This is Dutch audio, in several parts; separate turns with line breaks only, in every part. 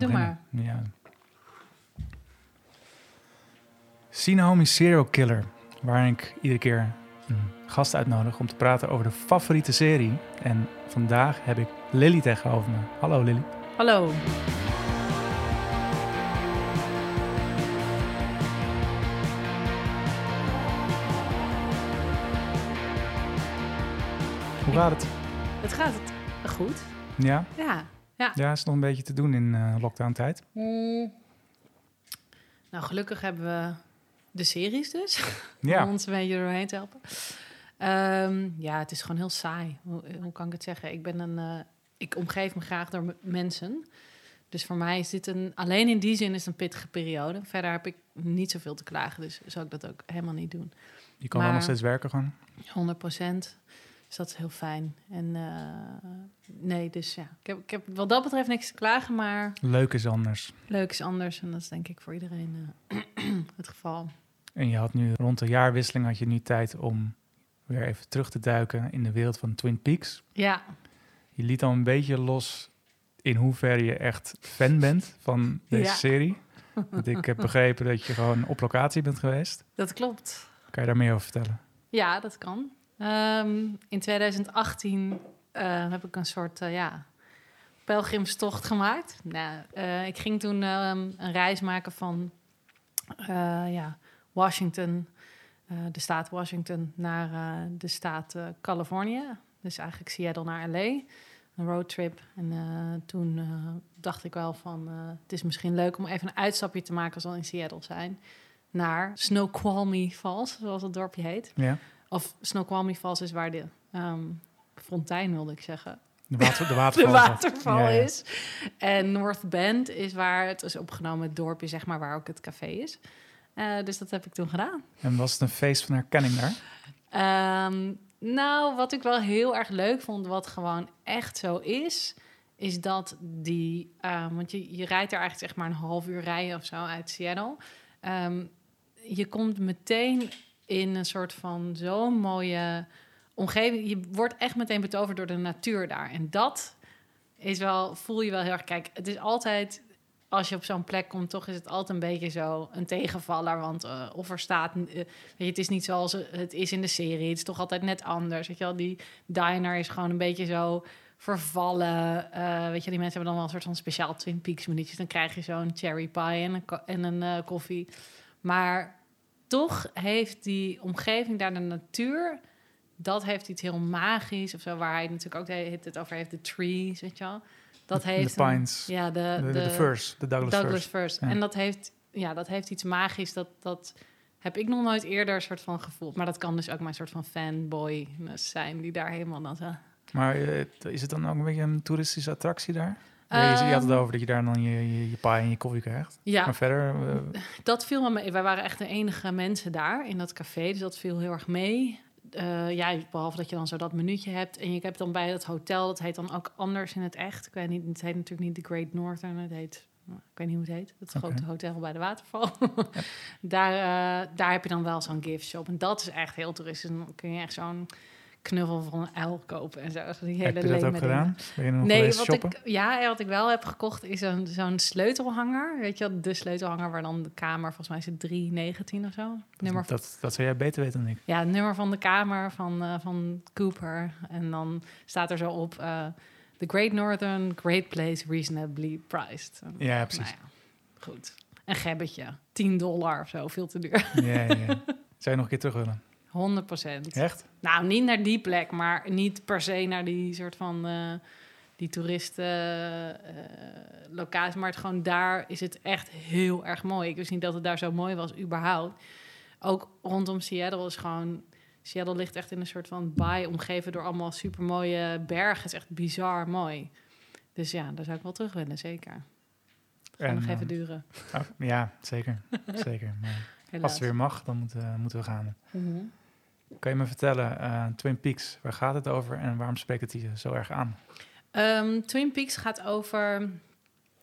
Doe maar.
Ja. Seen Home is Serial Killer, waar ik iedere keer een gast uitnodig om te praten over de favoriete serie. En vandaag heb ik Lily tegenover me. Hallo Lily.
Hallo.
Hoe gaat het?
Het gaat het goed.
Ja,
Ja.
ja is nog een beetje te doen in eh lockdown tijd.
Hmm. Nou, gelukkig hebben we de series dus. Om
Ja,
ons een beetje doorheen te helpen. Ehm, ja, het is gewoon heel saai. Hoe, hoe kan ik het zeggen? Ik ben een... eh, ik omgeef me graag door m- mensen. Dus voor mij is dit een... Alleen in die zin is het een pittige periode. Verder heb ik niet zoveel te klagen. Dus zou ik dat ook helemaal niet doen.
je kan wel
maar-
nog steeds werken gewoon.
100 procent. Dus dat is heel fijn. En eh, nee, dus ja. Ik heb, ik heb wat dat betreft niks te klagen, maar
Leuk is anders.
leuk is anders. En dat is denk ik voor iedereen eh, het geval.
En je had nu rond de jaarwisseling had je nu tijd om weer even terug te duiken in de wereld van Twin Peaks.
Ja,
Je liet al een beetje los in hoeverre je echt fan bent van deze
Ja.
serie. Want ik heb begrepen dat je gewoon op locatie bent geweest.
dat klopt.
Kan je daar meer over vertellen?
Ja, dat kan. Ehm, in 2018 eh, heb ik een soort eh, ja, pelgrimstocht gemaakt. Nou, eh, ik ging toen ehm, een reis maken van eh, ja, Washington, eh, de staat Washington, naar eh, de staat eh, Californië. Dus eigenlijk Seattle naar LA. Een roadtrip. En eh, toen eh, dacht ik wel van, eh, het is misschien leuk om even een uitstapje te maken als we al in Seattle zijn. Naar Snoqualmie Falls, zoals het dorpje heet.
Ja.
Of Snoqualmie Falls is waar de ehm, fontein, wilde ik zeggen,
De, water, de
de
waterval.
waterval
Ja, ja.
is. En North Bend is waar het is opgenomen, het dorpje, zeg maar, waar ook het café is. Eh, dus dat heb ik toen gedaan.
En was het een feest van herkenning daar?
Ehm, nou, wat ik wel heel erg leuk vond, wat gewoon echt zo is, is dat die. ehm, want je, je rijdt er eigenlijk zeg maar een half uur rijden of zo uit Seattle. Ehm, je komt meteen in een soort van zo'n mooie omgeving. Je wordt echt meteen betoverd door de natuur daar. En dat is wel, voel je wel heel erg. Kijk, het is altijd. Als je op zo'n plek komt, toch is het altijd een beetje zo een tegenvaller. Want eh, of er staat eh, Weet je, het is niet zoals het is in de serie. Het is toch altijd net anders. Weet je wel, die diner is gewoon een beetje zo vervallen. Eh, weet je, die mensen hebben dan wel een soort van speciaal Twin Peaks minuutjes. Dan krijg je zo'n cherry pie en een, ko- en een eh, koffie. Maar toch heeft die omgeving daar de natuur... dat heeft iets heel magisch of zo. Waar hij natuurlijk ook de hele tijd het over heeft. De trees, weet je wel. Dat heeft...
de
een-
pines.
Ja, de,
de, de, de Furs, de Douglas,
Douglas,
Furs.
First.
ja.
En dat heeft, ja, dat heeft iets magisch. Dat, dat heb ik nog nooit eerder een soort van gevoeld. Maar dat kan dus ook mijn soort van fanboy zijn. Die daar helemaal dan zo...
Maar eh, t- is het dan ook een beetje een toeristische attractie daar? Ja, je, je had het
Ehm,
over dat je daar dan je, je, je paai en je koffie krijgt.
Ja,
Maar verder, eh,
dat viel me mee. Wij waren echt de enige mensen daar in dat café. Dus dat viel heel erg mee. Eh, ja, behalve dat je dan zo dat minuutje hebt. En je hebt dan bij dat hotel, dat heet dan ook anders in het echt. Ik weet niet, het heet natuurlijk niet de Great Northern. Het heet, ik weet niet hoe het heet. Het
Oké.
grote hotel bij de waterval. daar, eh, daar heb je dan wel zo'n gift shop. En dat is echt heel toeristisch. Dan kun je echt zo'n knuffel van een uil kopen en zo. Van Die hele
heb je dat
leme
ook
dingen.
gedaan? Ben je er nog
Nee,
geweest
wat
shoppen?
ik, ja, wat ik wel heb gekocht is een, zo'n sleutelhanger. Weet je wel, de sleutelhanger waar dan de kamer, volgens mij is het 319 of zo. Nummer van,
dat, dat zou jij beter weten dan ik.
ja, het nummer van de kamer van, eh, van Cooper. En dan staat er zo op, eh, The Great Northern, Great Place, Reasonably Priced. En,
Ja, precies.
nou ja, goed. Een gebbetje, 10 dollar of zo, veel te duur.
Ja, ja, ja. Zou je nog een keer terug willen?
100 procent.
Echt?
Nou, niet naar die plek, maar niet per se naar die soort van eh, die toeristenlocatie. locatie, maar het gewoon daar is het echt heel erg mooi. Ik wist niet dat het daar zo mooi was, überhaupt. Ook rondom Seattle is gewoon. Seattle ligt echt in een soort van baai, omgeven door allemaal supermooie bergen. Het is echt bizar mooi. Dus ja, daar zou ik wel terug willen, zeker. Kan
En,
nog even
eh,
duren.
oh, ja, zeker. zeker. Maar als
Helaas.
het weer mag, dan moeten, we- moeten we gaan.
Mhm.
Kan je me vertellen, eh, Twin Peaks, waar gaat het over en waarom spreekt het je zo erg aan?
Ehm, Twin Peaks gaat over.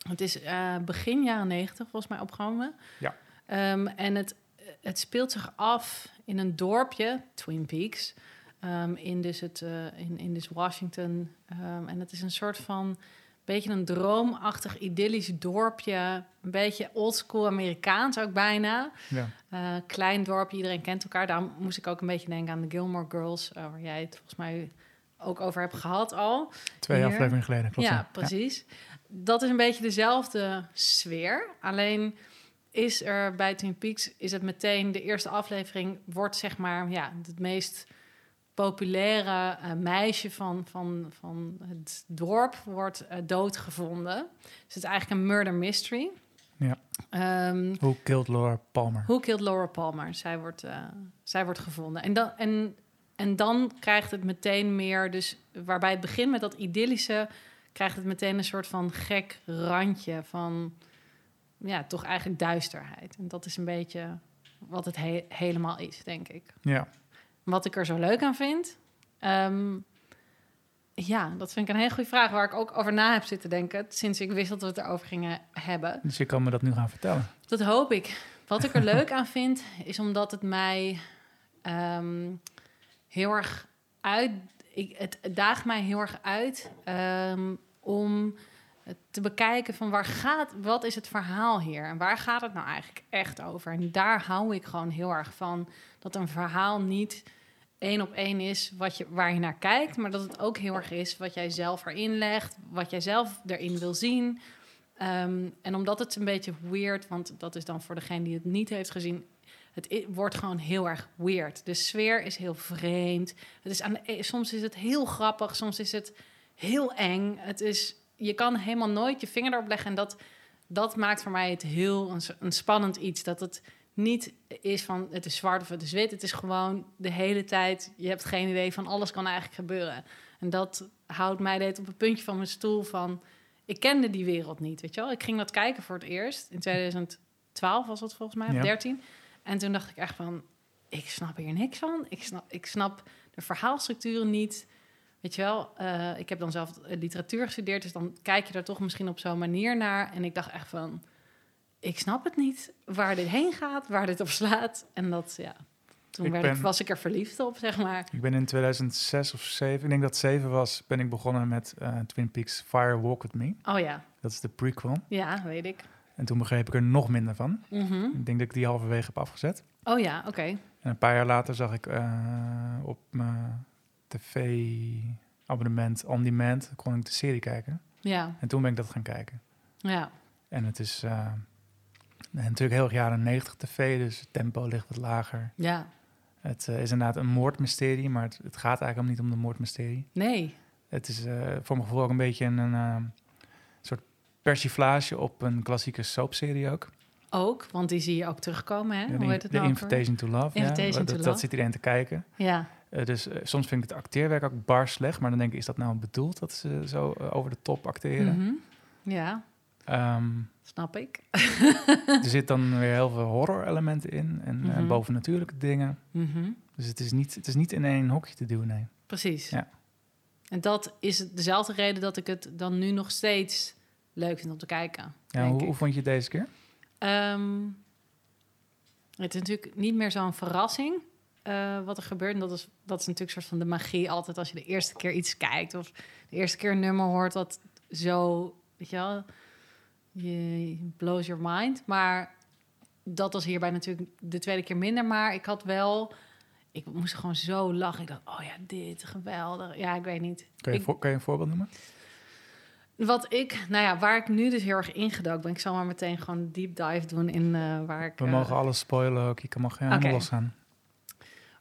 Het is eh, begin jaren negentig, volgens mij, opgenomen.
Ja.
Ehm, en het, het speelt zich af in een dorpje, Twin Peaks. ehm, in, dus het, eh, in, in dus Washington. Ehm, en het is een soort van beetje een droomachtig, idyllisch dorpje. Een beetje oldschool Amerikaans ook bijna.
Ja.
Eh, klein dorpje, iedereen kent elkaar. Daarom moest ik ook een beetje denken aan de Gilmore Girls... eh, waar jij het volgens mij ook over hebt gehad al.
Twee
Hier.
afleveringen geleden, klopt.
Ja, precies. Dat is een beetje dezelfde sfeer. Alleen is er bij Twin Peaks is het meteen de eerste aflevering wordt zeg maar ja het meest populaire eh, meisje van, van, van het dorp wordt eh, doodgevonden. Dus het is eigenlijk een murder mystery.
Ja.
Ehm,
Hoe killed Laura Palmer?
Who Killed Laura Palmer? Zij wordt, eh, zij wordt gevonden. En dan, en, en dan krijgt het meteen meer, dus waarbij het begint met dat idyllische, krijgt het meteen een soort van gek randje van, ja, toch eigenlijk duisterheid. En dat is een beetje wat het he- helemaal is, denk ik.
Ja,
Wat ik er zo leuk aan vind. Ehm, ja, dat vind ik een hele goede vraag waar ik ook over na heb zitten denken sinds ik wist dat we het erover gingen hebben.
dus je kan me dat nu gaan vertellen.
Dat hoop ik. Wat ik er leuk aan vind, is omdat het mij ehm, heel erg uit. Ik, het het daagt mij heel erg uit ehm, om te bekijken van waar gaat, wat is het verhaal hier en waar gaat het nou eigenlijk echt over? En daar hou ik gewoon heel erg van dat een verhaal niet één op één is wat je, waar je naar kijkt, maar dat het ook heel erg is wat jij zelf erin legt, wat jij zelf erin wil zien. Ehm, en omdat het een beetje weird, want dat is dan voor degene die het niet heeft gezien, het i- wordt gewoon heel erg weird. De sfeer is heel vreemd. Het is aan de, e- soms is het heel grappig, soms is het heel eng. Het is, je kan helemaal nooit je vinger erop leggen. En dat, dat maakt voor mij het heel een, s- een spannend iets. Dat het niet is van het is zwart of het is wit. Het is gewoon de hele tijd, je hebt geen idee van alles kan eigenlijk gebeuren. En dat houdt mij deed op een puntje van mijn stoel van ik kende die wereld niet, weet je wel. Ik ging dat kijken voor het eerst. In 2012 was dat volgens mij, of
Ja.
13. En toen dacht ik echt van, ik snap hier niks van. Ik snap, ik snap de verhaalstructuren niet. Weet je wel, eh, ik heb dan zelf eh, literatuur gestudeerd... dus dan kijk je daar toch misschien op zo'n manier naar. En ik dacht echt van, ik snap het niet waar dit heen gaat... waar dit op slaat. En dat, ja, toen
Ik
werd ik,
ben-
was ik er verliefd op, zeg maar.
Ik ben in 2006 of 7, ik denk dat het 7 was, ben ik begonnen met eh, Twin Peaks Fire Walk With Me.
Oh ja,
Dat is de prequel.
ja, weet ik.
En toen begreep ik er nog minder van.
Mhm.
Ik denk dat ik die halverwege heb afgezet.
Oh ja, oké.
En een paar jaar later zag ik eh, op mijn tv-abonnement On Demand, kon ik de serie kijken.
Ja,
En toen ben ik dat gaan kijken.
ja.
En het is eh, natuurlijk heel erg jaren 90 tv, dus het tempo ligt wat lager.
Ja,
Het eh, is inderdaad een moordmysterie, maar het, het gaat eigenlijk niet om de moordmysterie.
nee.
Het is eh, voor mijn gevoel ook een beetje een, eh, soort persiflage op een klassieke soapserie ook.
Ook, want die zie je ook terugkomen, hè?
De-
Eh, Hoe heet het
de
nou? ook weer?
Invitation to Love. ja.
Invitation
dat,
to
dat
Love.
zit iedereen te kijken.
Ja,
Eh, dus eh, soms vind ik het acteerwerk ook bar slecht, maar dan denk ik, is dat nou bedoeld dat ze zo eh, over de top acteren?
Mhm. ja
Ehm,
snap ik.
er zit dan weer heel veel horror-elementen in en, eh,
Mhm.
bovennatuurlijke dingen.
Mhm.
Dus het is, niet, het is niet in één hokje te duwen, nee.
Precies.
Ja.
En dat is het- dezelfde reden dat ik het dan nu nog steeds leuk vind om te kijken.
Ja,
denk
hoe,
ik.
hoe vond je het deze keer?
Ehm, het is natuurlijk niet meer zo'n verrassing eh, wat er gebeurt. En dat is, dat is natuurlijk een soort van de magie altijd als je de eerste keer iets kijkt of de eerste keer een nummer hoort dat zo, weet je wel, je blows your mind. Maar dat was hierbij natuurlijk de tweede keer minder. Maar ik had wel, ik moest gewoon zo lachen. Ik dacht, oh ja, dit, geweldig. Ja, ik weet niet.
Kun je,
Ik-
voor- kun je een voorbeeld noemen?
Wat ik, nou ja, waar ik nu dus heel erg ingedoken ben. Ik zal maar meteen gewoon een deep dive doen in eh, waar ik...
We
eh,
mogen alles spoilen ook, je kan- mag helemaal
Oké.
losgaan.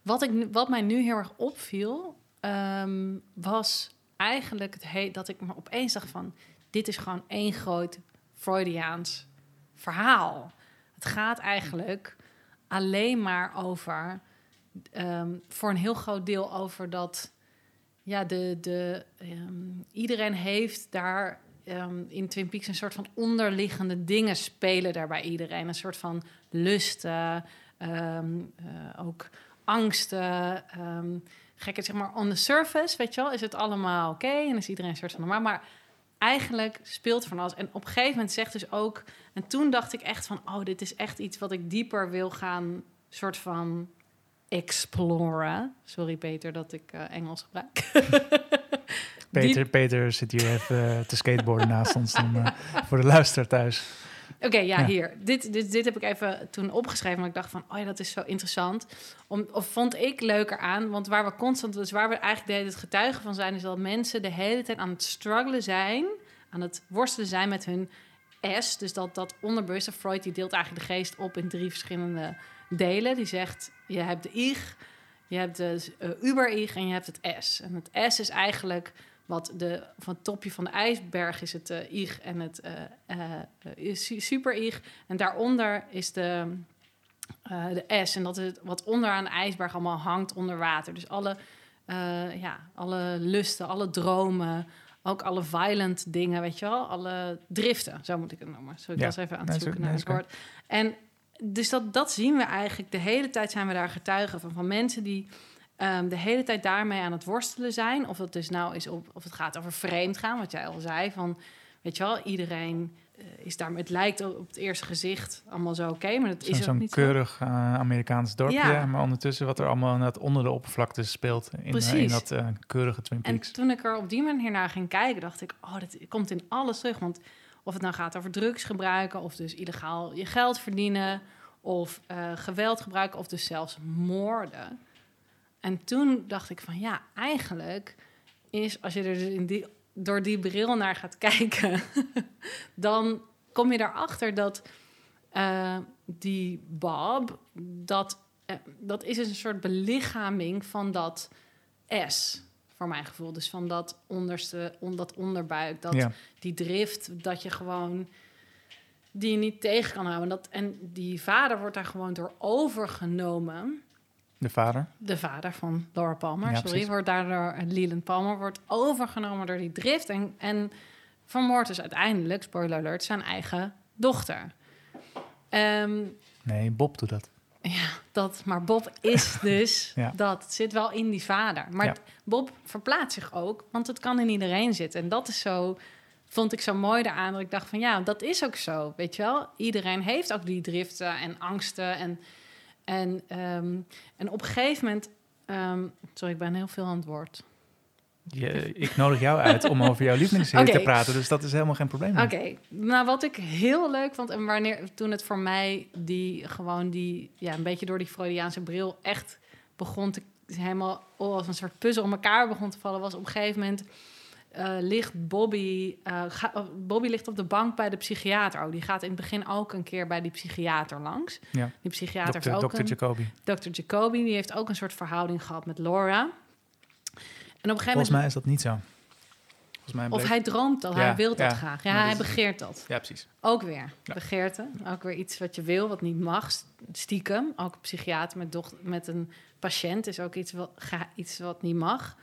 Wat, ik, nu- wat mij nu heel erg opviel, ehm, was eigenlijk het he- dat ik me opeens dacht van... dit is gewoon één groot Freudiaans verhaal. Het gaat eigenlijk alleen maar over... ehm, voor een heel groot deel over dat... Ja, de, de, ehm, iedereen heeft daar ehm, in Twin Peaks een soort van onderliggende dingen spelen daar bij iedereen. Een soort van lusten, ehm, eh, ook angsten. ehm gekke, zeg maar, on the surface, weet je wel, is het allemaal oké en is iedereen een soort van normaal. Maar eigenlijk speelt van alles. En op een gegeven moment zegt dus ook... En toen dacht ik echt van, oh, dit is echt iets wat ik dieper wil gaan... soort van exploren. Sorry Peter dat ik eh, Engels gebruik.
Peter, Peter zit hier even eh, te skateboarden naast ons. Dan, eh, voor de luisteraar thuis.
Oké, ja,
Ja.
hier. Dit, dit, dit heb ik even toen opgeschreven. Maar ik dacht van, oh ja, dat is zo interessant. Om, of vond ik leuker aan. Want waar we constant, dus waar we eigenlijk de hele tijd getuige van zijn... is dat mensen de hele tijd aan het struggelen zijn... aan het worstelen zijn met hun S. Dus dat, dat onderbewuste Freud, die deelt eigenlijk de geest op in drie verschillende delen. Die zegt, je hebt de IG, je hebt de eh, uber-IG en je hebt het S. En het S is eigenlijk wat de, van het topje van de ijsberg is het eh IG en het eh eh, su- super-IG. En daaronder is de, eh, de S. En dat is het wat onderaan de ijsberg allemaal hangt onder water. Dus alle, eh, ja, alle lusten, alle dromen, ook alle violent dingen, weet je wel. Alle driften, zo moet ik het noemen. Zo ik
Ja.
was even aan
Nee,
het
is
zoeken
ook-
naar
nee,
het
is
woord. En dus dat, dat zien we eigenlijk. De hele tijd zijn we daar getuigen van. Van mensen die ehm, de hele tijd daarmee aan het worstelen zijn. Of dat dus nou is op, of het gaat over vreemd gaan, wat jij al zei. Van, weet je wel, iedereen eh, is daar... Het lijkt op het eerste gezicht allemaal zo oké, maar dat
Zo-
is ook
Zo'n
niet zo.
keurig eh, Amerikaans dorpje.
Ja.
Maar ondertussen wat er allemaal inderdaad onder de oppervlakte speelt. In, eh, in
Precies.
dat eh, keurige Twin
En
Peaks.
toen ik er op die manier naar ging kijken, dacht ik, oh, dat komt in alles terug. Want of het nou gaat over drugs gebruiken, of dus illegaal je geld verdienen, of eh, geweld gebruiken, of dus zelfs moorden. En toen dacht ik van ja, eigenlijk is als je er dus in die, door die bril naar gaat kijken, dan kom je erachter dat eh, die Bob, dat, eh, dat is een soort belichaming van dat S, voor mijn gevoel. Dus van dat onderste, on, dat onderbuik, dat,
ja.
die drift, dat je gewoon die je niet tegen kan houden. Dat, en die vader wordt daar gewoon door overgenomen.
De vader.
De vader van Laura Palmer,
Ja,
sorry,
precies.
wordt daardoor Leland Palmer wordt overgenomen door die drift en, en vermoordt dus uiteindelijk, spoiler alert, zijn eigen dochter. Ehm,
Nee, Bob doet dat.
dat, maar Bob is dus
Ja.
dat. Het zit wel in die vader. Maar
Ja.
t- Bob verplaatst zich ook, want het kan in iedereen zitten. En dat is zo, vond ik zo mooi daaraan. Dat ik dacht van ja, dat is ook zo, weet je wel. Iedereen heeft ook die driften en angsten. En, en, ehm, en op een gegeven moment... ehm, sorry, ik ben heel veel aan het woord.
Je- ik nodig jou uit om over jouw lievelingsserie
Oké.
te praten. Dus dat is helemaal geen probleem.
Oké, nou wat ik heel leuk vond en wanneer toen het voor mij die gewoon die ja een beetje door die Freudiaanse bril echt begon te helemaal oh, als een soort puzzel om elkaar begon te vallen was op een gegeven moment eh, ligt Bobby eh, ga- oh, Bobby ligt op de bank bij de psychiater. Oh, die gaat in het begin ook een keer bij die psychiater langs.
Ja.
Die psychiater heeft
Dokter,
ook
dokter
een-
Jacoby.
Dr. Jacoby die heeft ook een soort verhouding gehad met Laura. En op een gegeven
Volgens
moment
mij is dat niet zo. Volgens mij
of
bleek-
hij droomt dat,
Ja,
hij wil dat
ja.
graag. Ja,
Maar
hij
dus-
begeert dat.
Ja, precies.
Ook weer
Ja.
begeerte. Ook weer iets wat je wil, wat niet mag. st- Stiekem. Ook een psychiater met, doch- met een patiënt is ook iets wat, ga- iets wat niet mag.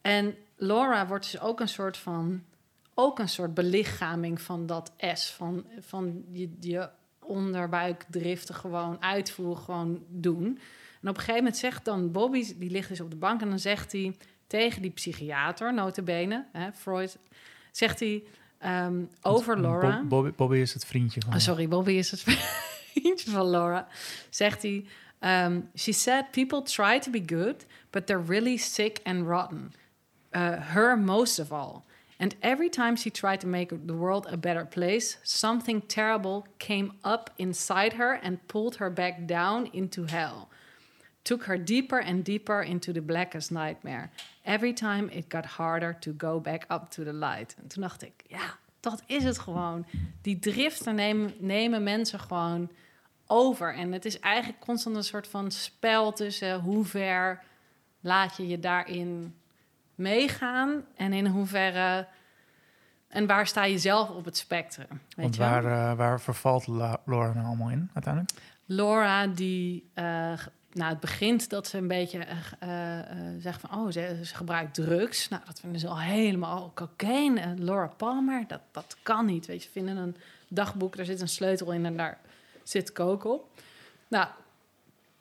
En Laura wordt dus ook een soort van... ook een soort belichaming van dat S. Van, van je, je onderbuikdriften gewoon uitvoeren, gewoon doen. En op een gegeven moment zegt dan Bobby... die ligt dus op de bank en dan zegt hij tegen die psychiater... notabene, hè, Freud, zegt hij... ehm, over
Want
Laura...
Bob- Bobby, Bobby is het vriendje van
Oh, sorry, Bobby is het vriendje van Laura. Zegt hij... ehm, she said people try to be good, but they're really sick and rotten. Uh, her most of all. And every time she tried to make the world a better place, something terrible came up inside her and pulled her back down into hell. Took her deeper and deeper into the blackest nightmare. Every time it got harder to go back up to the light. En toen dacht ik, ja, dat is het gewoon. Die driften nemen, nemen mensen gewoon over. En het is eigenlijk constant een soort van spel tussen hoe ver laat je je daarin meegaan en in hoeverre. En waar sta je zelf op het spectrum? Weet
Want
je wel?
waar, eh, waar vervalt La- Laura nou allemaal in uiteindelijk?
Laura, die. eh, g- nou, het begint dat ze een beetje eh, g- eh, eh, zegt van. Oh, ze, ze gebruikt drugs. Nou, dat vinden ze al helemaal. Oh, cocaïne. eh, Laura Palmer, dat, dat kan niet. Weet je, Ze vinden een dagboek, daar zit een sleutel in en daar zit coke op. Nou,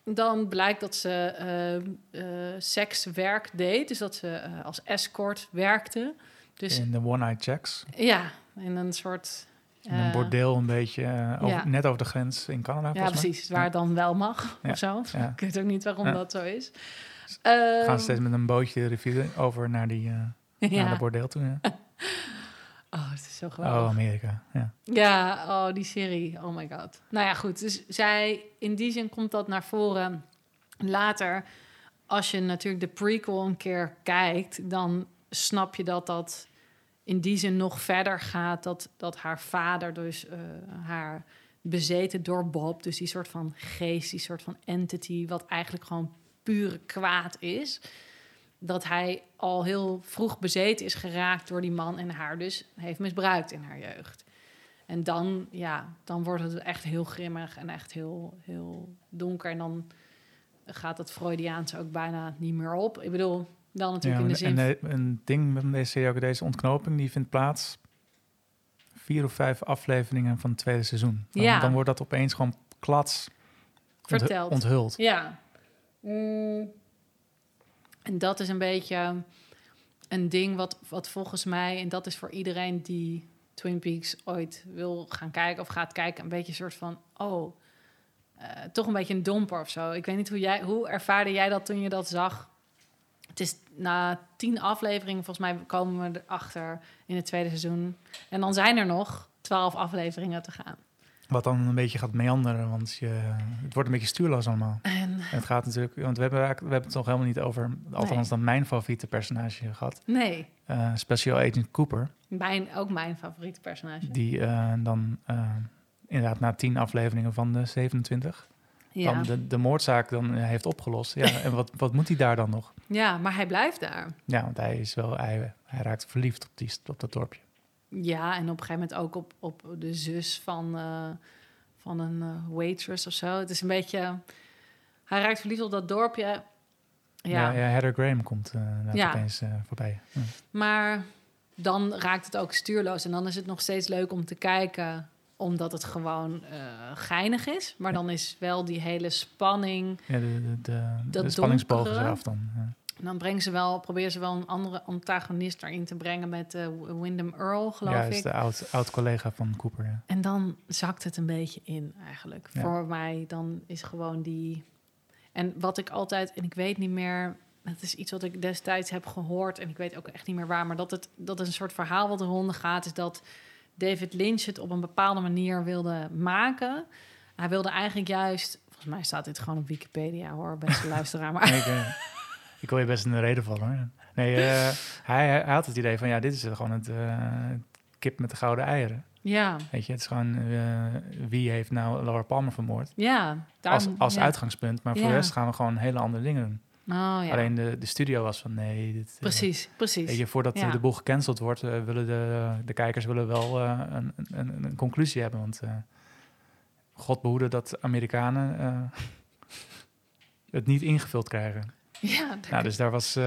dan blijkt dat ze eh, eh, sekswerk deed. Dus dat ze eh, als escort werkte. Dus
In de One-Eyed Jacks.
ja, in een soort.
In een
eh,
bordeel een beetje, eh, over-
ja.
net over de grens in Canada
Ja,
volgens mij.
precies. Waar het dan wel mag
Ja,
of zo.
ja.
Ik weet ook niet waarom
Ja.
dat zo is.
Gaan
Ehm,
ze steeds met een bootje de rivier over naar die... eh, naar de bordeel toe. Ja.
Oh, het is zo
Oh,
geweldig.
Amerika. Ja.
Ja, oh, die serie. Oh my god. Nou ja, goed. Dus zij, in die zin komt dat naar voren. Later, als je natuurlijk de prequel een keer kijkt, dan snap je dat dat in die zin nog verder gaat. Dat, dat haar vader dus eh, haar bezeten door Bob. Dus die soort van geest, die soort van entity, wat eigenlijk gewoon pure kwaad is. Dat hij al heel vroeg bezeten is geraakt door die man en haar dus heeft misbruikt in haar jeugd. En dan, ja, dan wordt het echt heel grimmig en echt heel, heel donker. En dan gaat dat Freudiaanse ook bijna niet meer op. Ik bedoel, dan natuurlijk in de
Ja,
zin...
en, en, eh, een ding met deze serie, ook deze ontknoping, die vindt plaats vier of vijf afleveringen van het tweede seizoen. Dan,
Ja.
dan wordt dat opeens gewoon klats onthu-
Verteld.
onthuld.
Ja. Mm. En dat is een beetje een ding wat, wat volgens mij, en dat is voor iedereen die Twin Peaks ooit wil gaan kijken of gaat kijken, een beetje een soort van, oh, eh, toch een beetje een domper of zo. Ik weet niet hoe jij, hoe ervaarde jij dat toen je dat zag? Het is na tien afleveringen, volgens mij komen we erachter in het tweede seizoen. En dan zijn er nog twaalf afleveringen te gaan.
Wat dan een beetje gaat meanderen, want je, het wordt een beetje stuurloos allemaal.
En
En het gaat natuurlijk, want we hebben, eigenlijk- we hebben het nog helemaal niet over, althans dan mijn favoriete personage gehad.
nee,
Eh, Special Agent Cooper,
mijn, ook mijn favoriete personage.
die eh, dan eh, inderdaad na tien afleveringen van de 27
ja.
dan de, de moordzaak dan eh, heeft opgelost. Ja, en wat, wat moet hij daar dan nog?
Ja, maar hij blijft daar.
Ja, want hij is wel, hij, hij raakt verliefd op, die, op dat dorpje.
Ja, en op een gegeven moment ook op, op de zus van, eh, van een eh, waitress of zo. Het is een beetje... Hij raakt verliefd op dat dorpje. Ja,
Ja, ja, Heather Graham komt eh inderdaad
Ja.
opeens eh, voorbij. Ja.
maar dan raakt het ook stuurloos. En dan is het nog steeds leuk om te kijken, omdat het gewoon eh, geinig is. Maar
Ja.
dan is wel die hele spanning...
Ja, de, de, de,
Dat
de spanningsboog is
donkere.
eraf dan. ja.
En dan brengen ze wel, proberen ze wel een andere antagonist erin te brengen met eh, Wyndham Earl, geloof
Ja,
ik.
is de oud, oud collega van Cooper. Ja.
En dan zakt het een beetje in eigenlijk.
Ja.
Voor mij dan is gewoon die... En wat ik altijd, en ik weet niet meer... Het is iets wat ik destijds heb gehoord en ik weet ook echt niet meer waar. Maar dat het dat het een soort verhaal wat de ronde gaat... is dat David Lynch het op een bepaalde manier wilde maken. Hij wilde eigenlijk juist... Volgens mij staat dit gewoon op Wikipedia hoor, beste luisteraar. Maar
Nee, ik, eh, ik wil je best in de reden vallen. hoor. Nee, eh, hij, hij had het idee van, ja, dit is gewoon het eh, kip met de gouden eieren.
ja,
Weet je, het is gewoon, eh, wie heeft nou Laura Palmer vermoord?
ja.
Als,
daarom-
als
ja.
uitgangspunt, maar voor
Ja.
de rest gaan we gewoon hele andere dingen doen.
Oh, ja.
Alleen de, de studio was van, nee, dit, eh,
precies, precies.
Weet je, voordat eh,
Ja.
de boel gecanceld wordt, eh, willen de, de kijkers willen wel eh, een, een, een conclusie hebben. Want eh, god behoede dat Amerikanen eh, het niet ingevuld krijgen.
ja, daar-
Nou, dus daar was eh,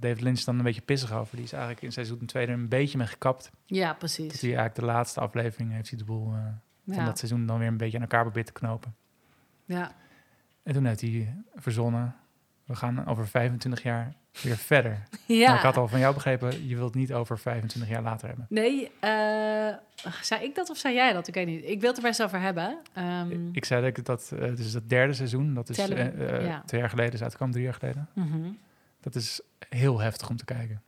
David Lynch dan een beetje pissig over. Die is eigenlijk in seizoen 2 er een beetje mee gekapt.
ja,
Dat
precies.
hij eigenlijk de laatste aflevering heeft hij de boel eh, van
ja.
dat seizoen dan weer een beetje aan elkaar probeert te knopen.
ja.
En toen heeft hij verzonnen, we gaan over 25 jaar weer verder.
ja.
Maar Nou, ik had al van jou begrepen, je wilt niet over 25 jaar later hebben.
Nee, eh, zei ik dat of zei jij dat? Ik weet niet. Ik wil het er best over hebben. Ehm,
Ik zei dat ik dat, eh, dus dat derde seizoen, dat is
Tellen,
eh, eh,
ja.
twee jaar geleden is uitgekomen, drie jaar geleden.
mhm.
Dat is heel heftig om te kijken.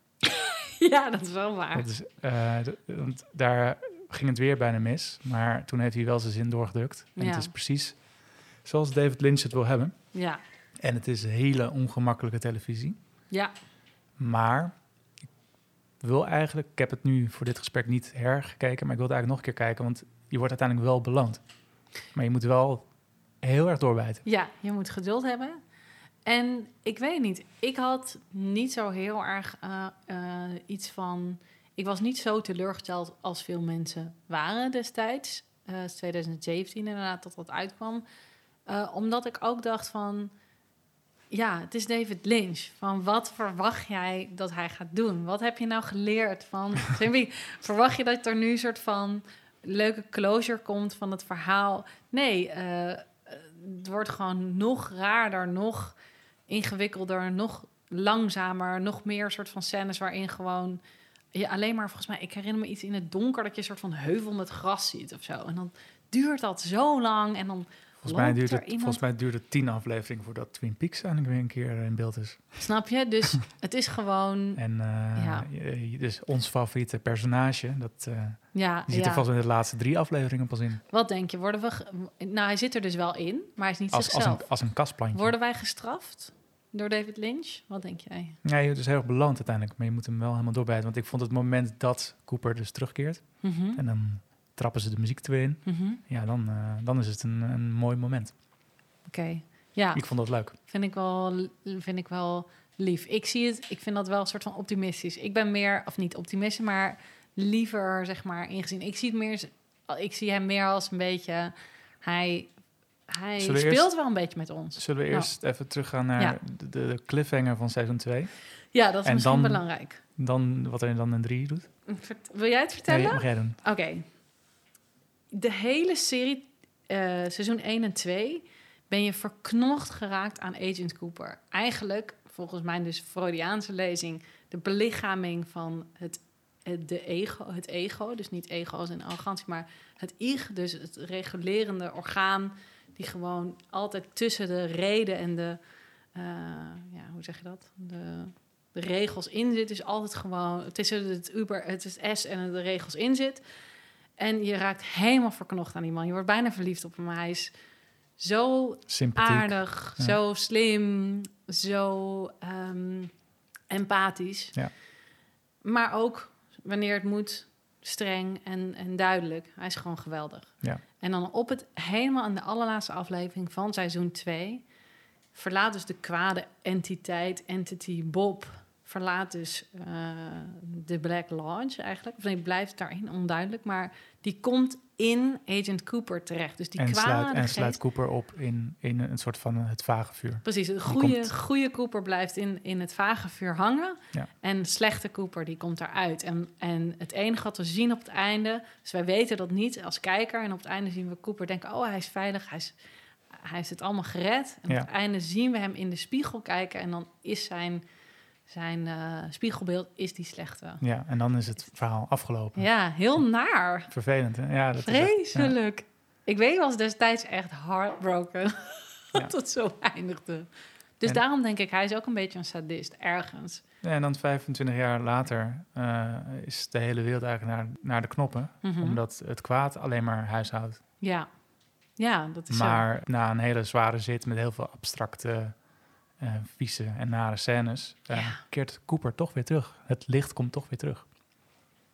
Ja, dat is wel waar.
Dat is, eh, d- want daar ging het weer bijna mis, maar toen heeft hij wel zijn zin doorgedrukt. En
Ja.
het is precies zoals David Lynch het wil hebben.
Ja,
En het is hele ongemakkelijke televisie.
ja,
Maar ik wil eigenlijk, ik heb het nu voor dit gesprek niet hergekeken, maar ik wil het eigenlijk nog een keer kijken, want je wordt uiteindelijk wel beloond. Maar je moet wel heel erg doorbijten.
ja, je moet geduld hebben. En ik weet niet, ik had niet zo heel erg eh, eh, iets van... Ik was niet zo teleurgesteld als veel mensen waren destijds. Eh, het is 2017 inderdaad, dat dat uitkwam. Eh, omdat ik ook dacht van... Ja, het is David Lynch. Van wat verwacht jij dat hij gaat doen? Wat heb je nou geleerd van... Twin Peaks? verwacht je dat er nu een soort van leuke closure komt van het verhaal? Nee, eh, het wordt gewoon nog raarder, nog ingewikkelder, nog langzamer, nog meer soort van scènes waarin gewoon je alleen maar volgens mij, ik herinner me iets in het donker dat je een soort van heuvel met gras ziet of zo. En dan duurt dat zo lang en dan
Volgens mij,
Loopt
duurt
er
het,
iemand-
volgens mij duurt het tien afleveringen voordat Twin Peaks eigenlijk weer een keer in beeld is.
Snap je? Dus het is gewoon...
En eh,
Ja.
je- je- dus ons favoriete personage, dat, eh,
Ja,
die zit er
ja.
vast in de laatste drie afleveringen pas in.
Wat denk je? Worden we... ge- Nou, hij zit er dus wel in, maar hij is niet
Als, als,
zichzelf.
een, als een kastplantje.
Worden wij gestraft door David Lynch? Wat denk jij?
Ja, je wordt dus heel erg beloond uiteindelijk, maar je moet hem wel helemaal doorbijten. Want ik vond het moment dat Cooper dus terugkeert
Mhm,
en dan trappen ze de muziek er weer in.
mhm.
Ja, dan, eh, dan is het een, een mooi moment.
Oké. Ja,
Ik vond dat leuk.
vind ik, wel, vind ik wel lief. Ik zie het, ik vind dat wel een soort van optimistisch. Ik ben meer, of niet optimist, maar liever, zeg maar, ingezien. Ik zie, het meer, als- ik zie hem meer als een beetje... Hij, hij
Zullen we
speelt
eerst-
wel een beetje met ons.
Zullen we
Nou.
eerst even teruggaan naar
Ja.
de, de cliffhanger van seizoen 2?
Ja, dat is
En
misschien
dan-
belangrijk.
Dan wat hij dan in 3 doet?
Vert- Wil jij het vertellen?
Nee, mag jij doen.
Oké. De hele serie, eh, seizoen 1 en 2, ben je verknocht geraakt aan Agent Cooper. Eigenlijk, volgens mij dus Freudiaanse lezing, de belichaming van het, het, de ego, het ego. Dus niet ego als in arrogantie, maar het ig, dus het regulerende orgaan... die gewoon altijd tussen de reden en de... eh, ja, hoe zeg je dat? De, de regels in zit. Dus altijd gewoon tussen het Uber, het is S en de regels in zit. En je raakt helemaal verknocht aan die man. Je wordt bijna verliefd op hem. Hij is zo
Sympathiek.
aardig,
Ja.
zo slim, zo ehm, empathisch.
Ja.
Maar ook wanneer het moet, streng en, en duidelijk. Hij is gewoon geweldig.
Ja.
En dan op het helemaal aan de allerlaatste aflevering van seizoen 2 verlaat dus de kwade entiteit, entity Bob, verlaat dus eh, de Black Lodge eigenlijk. Of nee, blijft daarin onduidelijk, maar die komt in Agent Cooper terecht. Dus die
en,
kwade
sluit, en
geest-
sluit Cooper op in, in een soort van het vage vuur.
Precies, een
komt-
goede, goede Cooper blijft in, in het vage vuur hangen.
Ja.
En slechte Cooper die komt daaruit. En, en het enige wat we zien op het einde, dus wij weten dat niet als kijker. En op het einde zien we Cooper denken: oh, hij is veilig, hij, is, hij heeft het allemaal gered. En
Ja.
op het einde zien we hem in de spiegel kijken. En dan is zijn, zijn eh, spiegelbeeld is die slechte.
Ja, en dan is het verhaal afgelopen.
Oh. Ja, heel naar.
Vervelend, hè? Ja, dat is echt- ja.
Vreselijk. Ik weet, was destijds echt heartbroken
Ja.
dat het zo eindigde. Dus
En-
daarom denk ik, hij is ook een beetje een sadist, ergens.
Ja, en dan 25 jaar later eh, is de hele wereld eigenlijk naar, naar de knoppen.
Mhm.
Omdat het kwaad alleen maar huishoudt.
Ja. ja, dat is zo.
Maar na een hele zware zit met heel veel abstracte, eh, vieze en nare scènes... eh,
Ja.
keert Cooper toch weer terug. Het licht komt toch weer terug.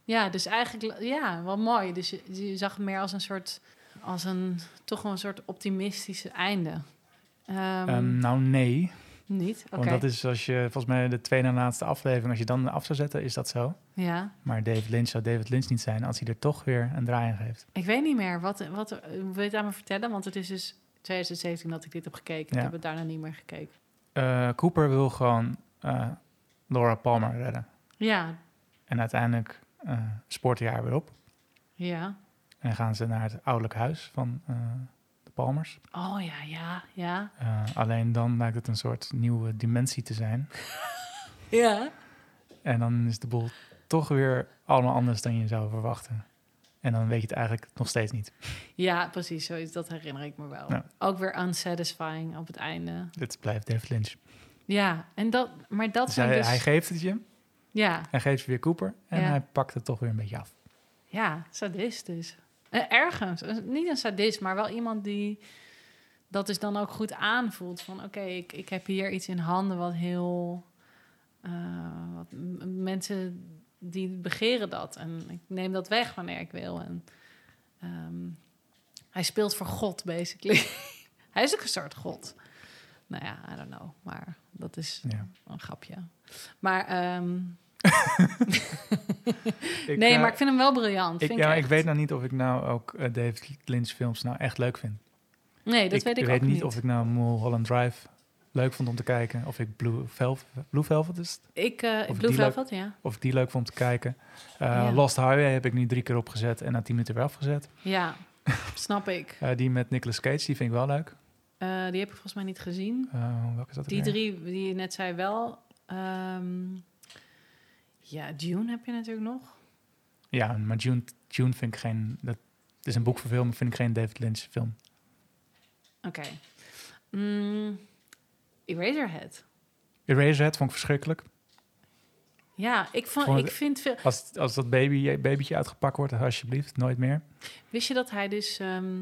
Ja, dus eigenlijk, ja, wel mooi. Dus je, je zag hem meer als een soort, als een, toch wel een soort optimistische einde. Ehm,
Ehm, nou, nee.
niet, oké.
Want dat is als je, volgens mij de tweede en laatste aflevering... als je dan af zou zetten, is dat zo.
Ja,
Maar David Lynch zou David Lynch niet zijn... als hij er toch weer een draai aan geeft.
ik weet niet meer. Wat, wat, wil je het aan me vertellen? Want het is dus 2017 dat ik dit heb gekeken.
Ja.
Ik heb het daarna niet meer gekeken.
Eh, Cooper wil gewoon eh, Laura Palmer redden.
Ja,
En uiteindelijk eh spoort hij haar weer op.
ja.
En dan gaan ze naar het ouderlijk huis van eh, de Palmers.
Oh ja, ja, ja.
Eh, alleen dan lijkt het een soort nieuwe dimensie te zijn.
Ja.
En dan is de boel toch weer allemaal anders dan je zou verwachten. En dan weet je het eigenlijk nog steeds niet.
Ja, precies, zoiets. Dat herinner ik me wel.
Ja.
Ook weer unsatisfying op het einde.
Het blijft David Lynch.
Ja, en dat, maar dat
Dus
zijn
hij,
dus...
hij geeft het je,
ja,
hij geeft je weer Cooper en
Ja.
hij pakt het toch weer een beetje af.
ja, sadist dus. Eh, ergens, Eh, niet een sadist, maar wel iemand die dat dus dan ook goed aanvoelt. Van oké, ik, ik heb hier iets in handen wat heel... eh, wat m- mensen die begeren dat. En ik neem dat weg wanneer ik wil. En, ehm, hij speelt voor God, basically. hij is ook een soort God. Nou ja, I don't know. Maar dat is
Ja.
een grapje. Maar, ehm,
Ik,
nee,
eh,
maar ik vind hem wel briljant.
ik,
vind
ja,
ik,
ik
echt.
weet nou niet of ik nou ook eh, David Lynch films nou echt leuk vind.
Nee, dat weet ik ook
niet.
niet.
of ik nou Mulholland Drive leuk vond om te kijken. Of ik Blue Velvet, Blue Velvet is het?
Ik, eh
of
Blue
die leuk-
Velvet, ja.
Of ik die leuk vond om te kijken. Eh,
Ja.
Lost Highway heb ik nu drie keer opgezet en na tien minuten weer afgezet.
Ja, snap ik.
Eh, die met Nicolas Cage, die vind ik wel leuk.
Eh, die heb ik volgens mij niet gezien.
Eh, welke is dat ook
Die
weer?
drie die je net zei wel. ehm, ja, Dune heb je natuurlijk nog.
Ja, maar June, June vind ik geen... Dat is een boek voor film, maar vind ik geen David Lynch film.
Oké. Mm, Eraserhead.
Eraserhead vond ik verschrikkelijk.
Ja, ik, vond,
Gewoon
ik
de-
vind veel...
Als, als dat baby, babytje uitgepakt wordt, alsjeblieft, nooit meer.
Wist je dat hij dus... ehm,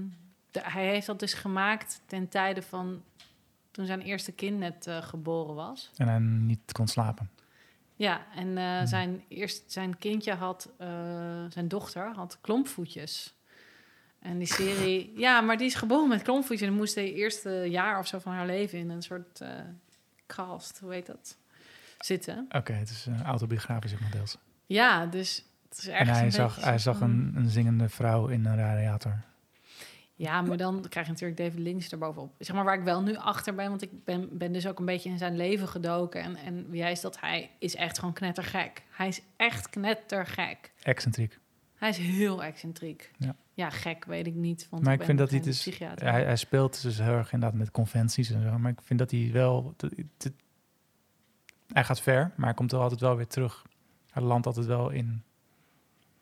de- hij heeft dat dus gemaakt ten tijde van... toen zijn eerste kind net eh, geboren was.
En dan niet kon slapen.
Ja, en eh,
Hmm.
zijn, eerst, zijn kindje had, eh, zijn dochter had klompvoetjes. En die serie, ja, maar die is geboren met klompvoetjes. En die moest de eerste jaar of zo van haar leven in een soort eh cast, hoe heet dat, zitten.
Oké, het is eh, autobiografisch ook nog deels.
Ja, dus het is
En
ergens
hij
een
zag,
beetje
hij
zo
zag
van-
een, een zingende vrouw in een radiator.
Ja, maar dan krijg je natuurlijk David Lynch erbovenop. Zeg maar waar ik wel nu achter ben, want ik ben, ben dus ook een beetje in zijn leven gedoken. En, en wie hij is, dat hij is echt gewoon knettergek. Hij is echt knettergek.
Excentriek.
Hij is heel excentriek.
Ja.
gek weet ik niet. Want
Maar ik
ben
vind dat
geen
hij dus-
Psychiater.
Hij, hij speelt dus heel erg inderdaad met conventies en zo. Maar ik vind dat hij wel... dat- dat- hij gaat ver, maar hij komt er altijd wel weer terug. Hij landt altijd wel in...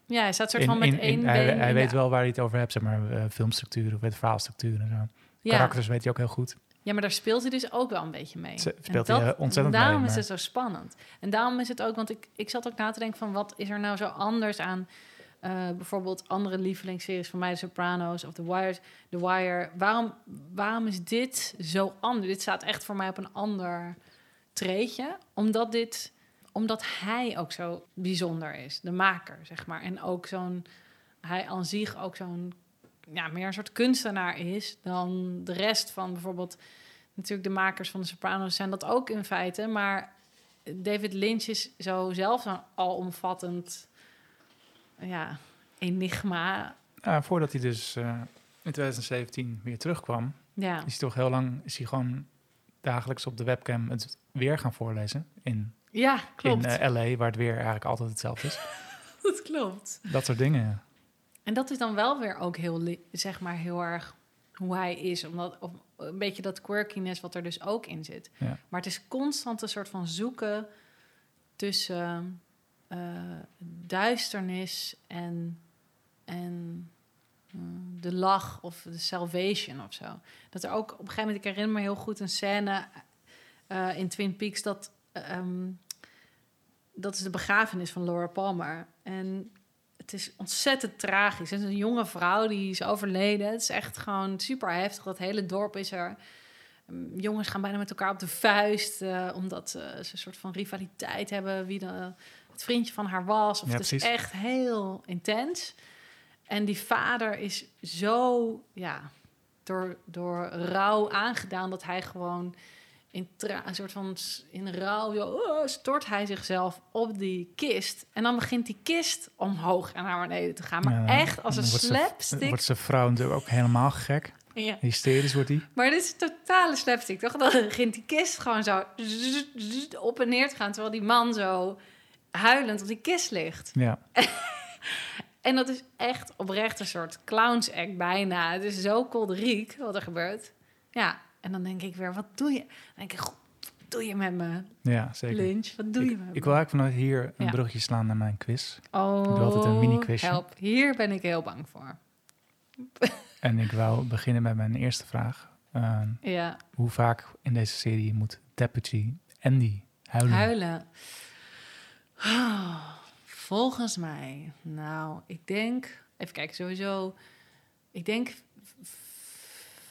ja, hij staat soort
in-
van met
in- in-
één
hij
been
hij
in
weet
de-
wel waar hij het over hebt, zeg maar. eh, filmstructuren, of het verhaalstructuren en zo.
Ja.
Karakters weet hij ook heel goed.
ja, maar daar speelt hij dus ook wel een beetje mee.
Ze-
En
speelt hij, eh, ontzettend
Daarom
mee,
is
maar-
het zo spannend. En daarom is het ook, want ik, ik zat ook na te denken van... wat is er nou zo anders aan eh, bijvoorbeeld andere lievelingsseries van mij... The Sopranos of The Wire. The Wire. Waarom, waarom is dit zo anders? Dit staat echt voor mij op een ander treetje. Omdat dit omdat hij ook zo bijzonder is, de maker, zeg maar. En ook zo'n, hij aan zich ook zo'n, ja, meer een soort kunstenaar is dan de rest van bijvoorbeeld, natuurlijk de makers van de Sopranos zijn dat ook in feite, maar David Lynch is zo zelf zo'n alomvattend, ja, enigma.
Nou, voordat hij dus eh, in 2017 weer terugkwam,
Ja,
is hij toch heel lang is hij gewoon dagelijks op de webcam het weer gaan voorlezen in,
ja
in
klopt.
eh, LA, waar het weer eigenlijk altijd hetzelfde is.
dat klopt.
Dat soort dingen. ja.
En dat is dan wel weer ook heel, li- zeg maar, heel erg hoe hij is. Omdat, of een beetje dat quirkiness wat er dus ook in zit.
Ja.
Maar het is constant een soort van zoeken tussen eh, duisternis en, en mm, de lach of de salvation of zo. Dat er ook op een gegeven moment, ik herinner me heel goed een scène eh, in Twin Peaks dat. eh, ehm, dat is de begrafenis van Laura Palmer. En het is ontzettend tragisch. Het is een jonge vrouw die is overleden. Het is echt gewoon super heftig. Dat hele dorp is er. Mm, Jongens gaan bijna met elkaar op de vuist. eh, omdat eh, ze een soort van rivaliteit hebben. Wie de, het vriendje van haar was. Of
Ja,
het is
precies.
echt heel intens. En die vader is zo ja, door, door rouw aangedaan dat hij gewoon in tra- een soort van s- in rouw zo, oh, stort hij zichzelf op die kist. En dan begint die kist omhoog en naar beneden te gaan. Maar
Ja,
echt als een
dan wordt ze- Dan
slapstick.
wordt zijn vrouw natuurlijk ook helemaal gek.
Ja.
Hysterisch wordt hij.
Maar dit is een totale slapstick, toch? Dan begint die kist gewoon zo zzz, zzz, op en neer te gaan. Terwijl die man zo huilend op die kist ligt.
Ja.
En dat is echt oprecht een soort clowns act bijna. Het is zo kolderiek wat er gebeurt. Ja, en dan denk ik weer, wat doe je? Dan denk ik, "Goh, wat doe je met me,
ja, zeker.
lunch? Wat doe
ik,
je met me?
ik wil eigenlijk vanuit hier een
Ja.
brugje slaan naar mijn quiz.
oh,
doe altijd een mini-quizje.
help. Hier ben ik heel bang voor.
En ik wou beginnen met mijn eerste vraag. Eh,
Ja,
hoe vaak in deze serie moet Deputy Andy huilen?
huilen. Oh, volgens mij, nou, ik denk... Even kijken, sowieso... Ik denk v-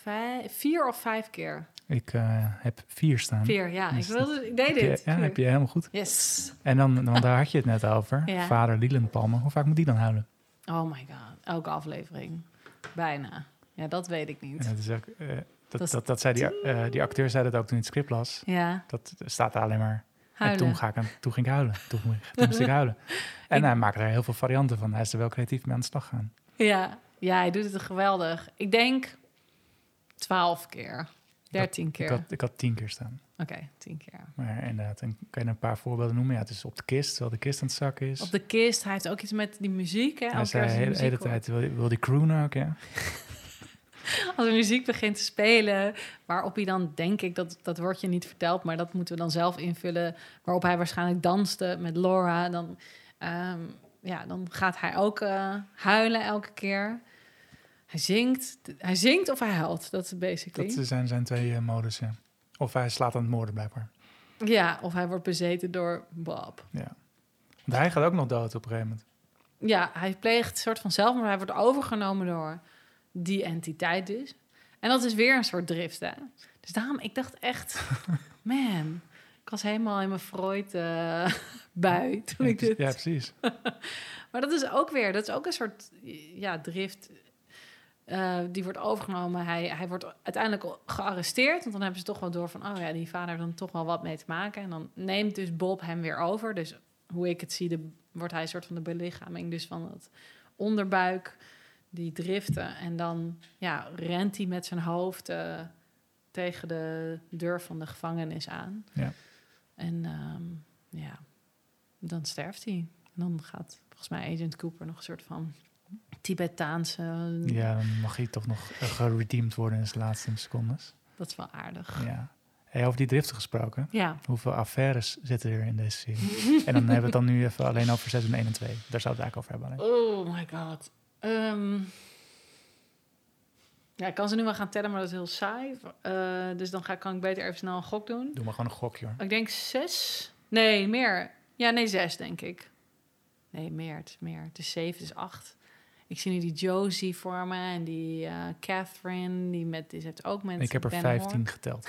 vij- vier of vijf keer.
Ik eh, heb vier staan.
Vier, ja. Ik,
Dus
wilde, ik deed
Heb je,
dit.
ja, heb je helemaal goed.
Yes.
En dan, want daar had je het net over.
Ja.
Vader Leland Palmer. Hoe vaak moet die dan huilen?
Oh my god, elke aflevering. Bijna. Ja, dat weet ik niet.
En dat, is ook, eh, dat,
Dat is-
dat, dat zei die, eh, die acteur zei dat ook toen hij het script las.
Ja,
Dat staat daar alleen maar.
huilen.
En toen, ga ik aan, toen ging ik huilen. Toen, mo- toen moest ik huilen. En
Ik-
hij maakt er heel veel varianten van. Hij is er wel creatief mee aan de slag gaan.
ja. ja, hij doet het geweldig. Ik denk twaalf keer. Dertien
Ik
keer. Oké,
had, ik had tien keer staan.
tien keer.
Maar inderdaad, en kan je een paar voorbeelden noemen? Ja, het is op de kist, terwijl de kist aan het zakken is.
Op de kist, hij heeft ook iets met die muziek. Hè? Elke
Dus- hij
keer
zei
als
de
hij
hele,
muziek
hele
hoort.
tijd, wil, wil die crooner ook, ja?
Als er muziek begint te spelen, waarop hij dan, denk ik, dat, dat wordt je niet verteld, maar dat moeten we dan zelf invullen, waarop hij waarschijnlijk danste met Laura, dan, ehm, ja, dan gaat hij ook eh, huilen elke keer. Hij zingt, hij zingt of hij huilt. Dat is basically.
Dat zijn zijn twee eh, modussen. Of hij slaat aan het moorden blijkbaar.
Ja, of hij wordt bezeten door Bob.
Want hij gaat ook nog dood op een gegeven moment.
Ja, hij pleegt een soort van zelfmoord. maar Hij wordt overgenomen door die entiteit dus. En dat is weer een soort drift, hè? Dus daarom, ik dacht echt, man, ik was helemaal in mijn Freud eh, bui toen ik
ja, dus
dit...
ja, precies.
Maar dat is ook weer, dat is ook een soort ja, drift. eh, die wordt overgenomen. Hij, hij wordt uiteindelijk gearresteerd. Want dan hebben ze toch wel door van... oh ja, die vader heeft dan toch wel wat mee te maken. En dan neemt dus Bob hem weer over. Dus hoe ik het zie, de, wordt hij een soort van de belichaming... dus van dat onderbuik, die driften. En dan ja, rent hij met zijn hoofd eh, tegen de deur van de gevangenis aan.
Ja.
En ehm, ja, dan sterft hij. En dan gaat volgens mij Agent Cooper nog een soort van Tibetaanse.
Ja, dan mag hij toch nog eh, geredeemd worden in zijn laatste secondes.
Dat is wel aardig.
Ja. Hey, over die driften gesproken.
Ja,
Hoeveel affaires zitten er in deze serie? en dan hebben we het dan nu even alleen over seizoen 1 en 2. Daar zouden we het eigenlijk over hebben. alleen.
oh my god. Ehm, ja, ik kan ze nu wel gaan tellen, maar dat is heel saai. Eh, dus dan ga, kan ik beter even snel een gok doen.
Doe maar gewoon een gokje hoor.
Ik denk zes. Nee, meer. Ja, nee, zes denk ik. Nee, meer. Het is meer. Het is zeven, het is acht. Ik zie nu die Josie voor me en die eh, Catherine. Die met, die heeft ook mensen.
Ik heb er
Ben Hor.
15 geteld.